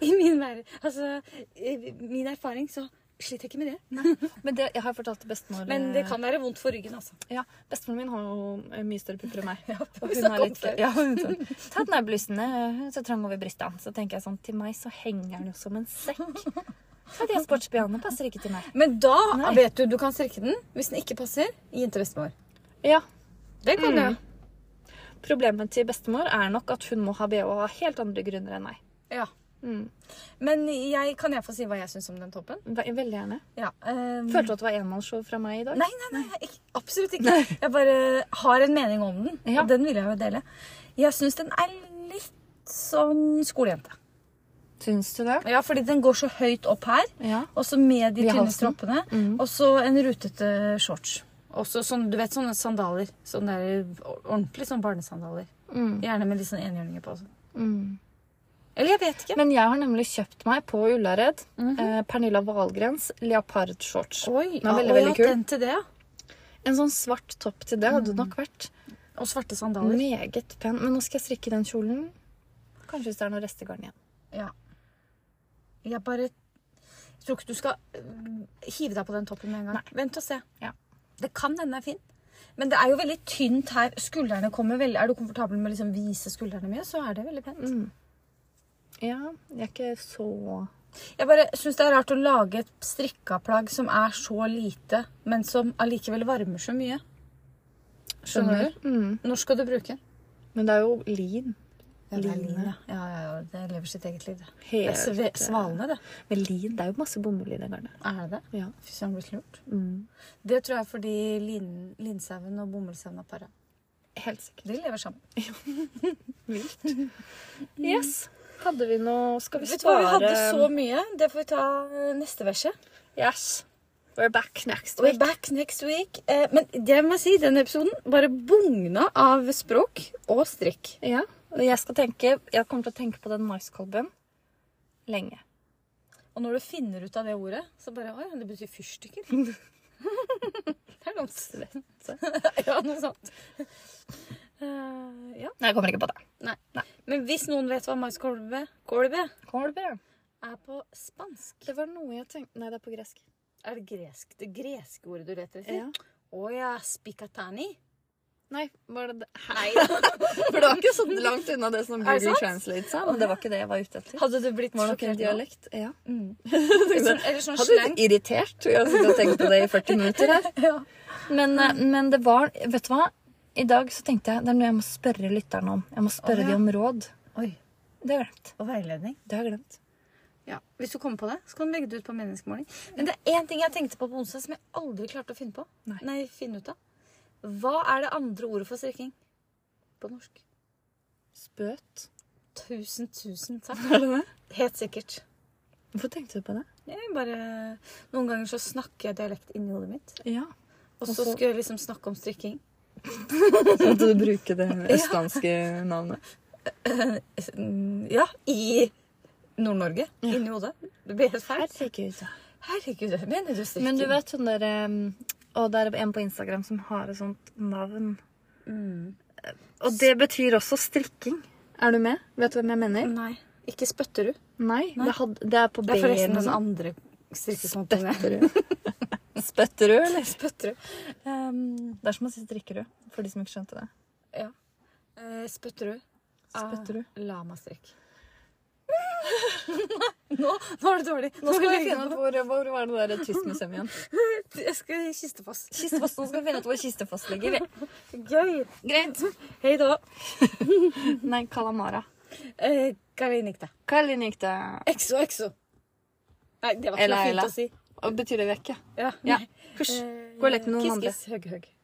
Speaker 2: I min, ver- altså, i min erfaring så sliter jeg ikke med det.
Speaker 1: Men det, jeg har fortalt til bestemor
Speaker 2: Men det kan være vondt for ryggen, altså.
Speaker 1: Ja, Bestemoren min har jo eh, mye større pupper enn meg.
Speaker 2: det har
Speaker 1: og
Speaker 2: vi
Speaker 1: hun er
Speaker 2: snakket om
Speaker 1: litt
Speaker 2: før.
Speaker 1: ja, hun er sånn, Ta den der blussen, eh, så trang over brystene. Så tenker jeg sånn, til meg så henger den jo som en sekk. Ja, de sportsbh-ene passer ikke til meg.
Speaker 2: Men da
Speaker 1: Nei.
Speaker 2: vet du du kan strekke den. Hvis den ikke passer, gi den til bestemor.
Speaker 1: Ja,
Speaker 2: Det kan du.
Speaker 1: Problemet til bestemor er nok at hun må ha bh av helt andre grunner enn meg.
Speaker 2: Ja.
Speaker 1: Mm.
Speaker 2: Men jeg, kan jeg få si hva jeg syns om den toppen?
Speaker 1: Ve- Veldig gjerne.
Speaker 2: Ja. ehm,
Speaker 1: Følte du at det var enmannsshow fra meg i dag?
Speaker 2: Nei, nei, nei, ikke, absolutt ikke. Jeg bare har en mening om den,
Speaker 1: Ja.
Speaker 2: og den vil jeg jo dele. Jeg syns den er litt sånn skolejente.
Speaker 1: Syns du det?
Speaker 2: Ja, fordi den går så høyt opp her,
Speaker 1: Ja.
Speaker 2: og så med de
Speaker 1: Via
Speaker 2: tynne
Speaker 1: halsen. Mm.
Speaker 2: stroppene, og så en rutete shorts. Og så sånn, du vet sånne sandaler. Sånne der, ordentlig sånn barnesandaler.
Speaker 1: Mm.
Speaker 2: Gjerne med litt sånn enhjørninger på. Også.
Speaker 1: Mm.
Speaker 2: Eller jeg vet ikke.
Speaker 1: Men jeg har nemlig kjøpt meg på Ullared eh, Pernilla Wahlgrens leopardshorts.
Speaker 2: Oi,
Speaker 1: Den er veldig,
Speaker 2: ja,
Speaker 1: veldig kul.
Speaker 2: Den til det, ja.
Speaker 1: En sånn svart topp til det hadde nok vært
Speaker 2: Og svarte sandaler.
Speaker 1: meget pen. Men nå skal jeg strikke den kjolen. Kanskje hvis det er noe restegarn igjen.
Speaker 2: Ja. Jeg bare jeg tror ikke du skal øh, hive deg på den toppen med en gang. Vent og se.
Speaker 1: Ja.
Speaker 2: Det kan hende den er fin. Men det er jo veldig tynt her. Skuldrene kommer veldig Er du komfortabel med å liksom vise skuldrene mye, så er det veldig pent.
Speaker 1: Mm. Ja, jeg er ikke så
Speaker 2: Jeg bare syns det er rart å lage et strikka plagg som er så lite, men som allikevel varmer så mye. Skjønner du?
Speaker 1: Mm.
Speaker 2: Når skal du bruke den?
Speaker 1: Men det er jo lin.
Speaker 2: det er
Speaker 1: Line.
Speaker 2: lin, ja. Ja, ja, ja, det lever sitt eget liv, det. Det er
Speaker 1: Helt, eh,
Speaker 2: sve- svalene, det.
Speaker 1: Men lin, det er jo masse bomull i det garnet.
Speaker 2: Er det det?
Speaker 1: Ja.
Speaker 2: Fy søren, blitt lurt.
Speaker 1: Mm.
Speaker 2: Det tror jeg er fordi lin- linsauen og bomullsauen er para.
Speaker 1: Helt sikkert.
Speaker 2: De lever sammen.
Speaker 1: Yes. Hadde vi noe Skal vi
Speaker 2: Vet du hva,
Speaker 1: spare
Speaker 2: vi hadde så mye. Det får vi ta eh, neste verset.
Speaker 1: Yes. We're back next
Speaker 2: We're
Speaker 1: week.
Speaker 2: back next week. Eh, Men det må jeg si, denne episoden bare bugna av språk og strikk.
Speaker 1: Ja. og Jeg skal tenke Jeg kommer til å tenke på den maiskolben lenge.
Speaker 2: Og når du finner ut av det ordet, så bare Å ja, det betyr fyrstikker. det er noe svette. ja, noe sånt. Eh, ja.
Speaker 1: Nei, jeg kommer ikke på det.
Speaker 2: Nei.
Speaker 1: Nei.
Speaker 2: Men hvis noen vet hva maiskolbe kolbe
Speaker 1: Kolbe.
Speaker 2: er på spansk
Speaker 1: Det var noe jeg tenkte Nei, det er på gresk.
Speaker 2: Er det gresk, det greske ordet du leter etter?
Speaker 1: Ja.
Speaker 2: Å ja, spikatani.
Speaker 1: Nei, var det det? Hei da. For det var ikke så langt unna det som
Speaker 2: Er det
Speaker 1: Google
Speaker 2: sant?
Speaker 1: Translate sa. Men det var ikke det jeg var ute etter.
Speaker 2: Hadde du blitt
Speaker 1: Var det nok en
Speaker 2: sjokkert nå?
Speaker 1: dialekt? Ja.
Speaker 2: Mm.
Speaker 1: Sånn-
Speaker 2: Eller sånn
Speaker 1: Hadde
Speaker 2: slang.
Speaker 1: blitt irritert. Jeg har sittet og tenkt på det i 40 minutter her.
Speaker 2: Ja.
Speaker 1: Men, eh, men det var Vet du hva? I dag så tenkte jeg det er noe jeg må spørre lytterne om. Jeg må spørre
Speaker 2: Å, ja.
Speaker 1: dem om råd.
Speaker 2: Oi,
Speaker 1: Det har jeg glemt.
Speaker 2: og veiledning.
Speaker 1: Det har jeg glemt.
Speaker 2: Ja, Hvis du kommer på det, så kan du legge det ut på meningsmåling. Men det er én ting jeg tenkte på på onsdag som jeg aldri klarte å finne på.
Speaker 1: Nei.
Speaker 2: finne ut av. Hva er det andre ordet for strikking på norsk?
Speaker 1: Spøt.
Speaker 2: Tusen, tusen takk. Helt sikkert.
Speaker 1: Hvorfor tenkte du på det?
Speaker 2: Jeg bare, noen ganger så snakker jeg dialekt inni hodet mitt.
Speaker 1: Ja.
Speaker 2: Og så
Speaker 1: Hvorfor?
Speaker 2: skulle jeg liksom snakke om strikking.
Speaker 1: Måtte du bruke det østlandske navnet?
Speaker 2: mm, Ja, i Nord-Norge. Inni hodet. Det blir helt feil.
Speaker 1: Herregud.
Speaker 2: Herregud, mener du strikking?
Speaker 1: Men du vet hun der um, Og det er en på Instagram som har et sånt navn.
Speaker 2: Mm.
Speaker 1: Og det betyr også strikking. Er du med? Vet du hvem jeg mener?
Speaker 2: Nei. Ikke Spøtterud.
Speaker 1: Nei. Det, had, det er på
Speaker 2: Det er forresten den
Speaker 1: B-en.
Speaker 2: andre strikkesonten.
Speaker 1: Spøtterud. Spøtterud, eller?
Speaker 2: Spøtterud. Um,
Speaker 1: Det er som å si strikkerud, for de som ikke skjønte det.
Speaker 2: ja. Eh, Spøtterud. av
Speaker 1: Spøtterud.
Speaker 2: Lamastrikk. nå, nå er det dårlig. Nå skal vi finne
Speaker 1: ut hvor, hvor var det der Tystmuseum igjen.
Speaker 2: ut Jeg skal i Kistefos.
Speaker 1: Kistefos, nå skal vi finne ut hvor Kistefos ligger.
Speaker 2: Gøy.
Speaker 1: Greit.
Speaker 2: Hei da.
Speaker 1: Nei, Kalamara.
Speaker 2: Eh, Kalinikta.
Speaker 1: Kalinikta.
Speaker 2: Exo, exo. Nei, det var ikke
Speaker 1: Ella,
Speaker 2: noe
Speaker 1: ella.
Speaker 2: fint å si.
Speaker 1: Og Betyr det vekke?
Speaker 2: Ja.
Speaker 1: Ja.
Speaker 2: nei.
Speaker 1: Hysj.
Speaker 2: Eh,
Speaker 1: Gå og lek med noen
Speaker 2: Kiss, kiss, høgg, høgg.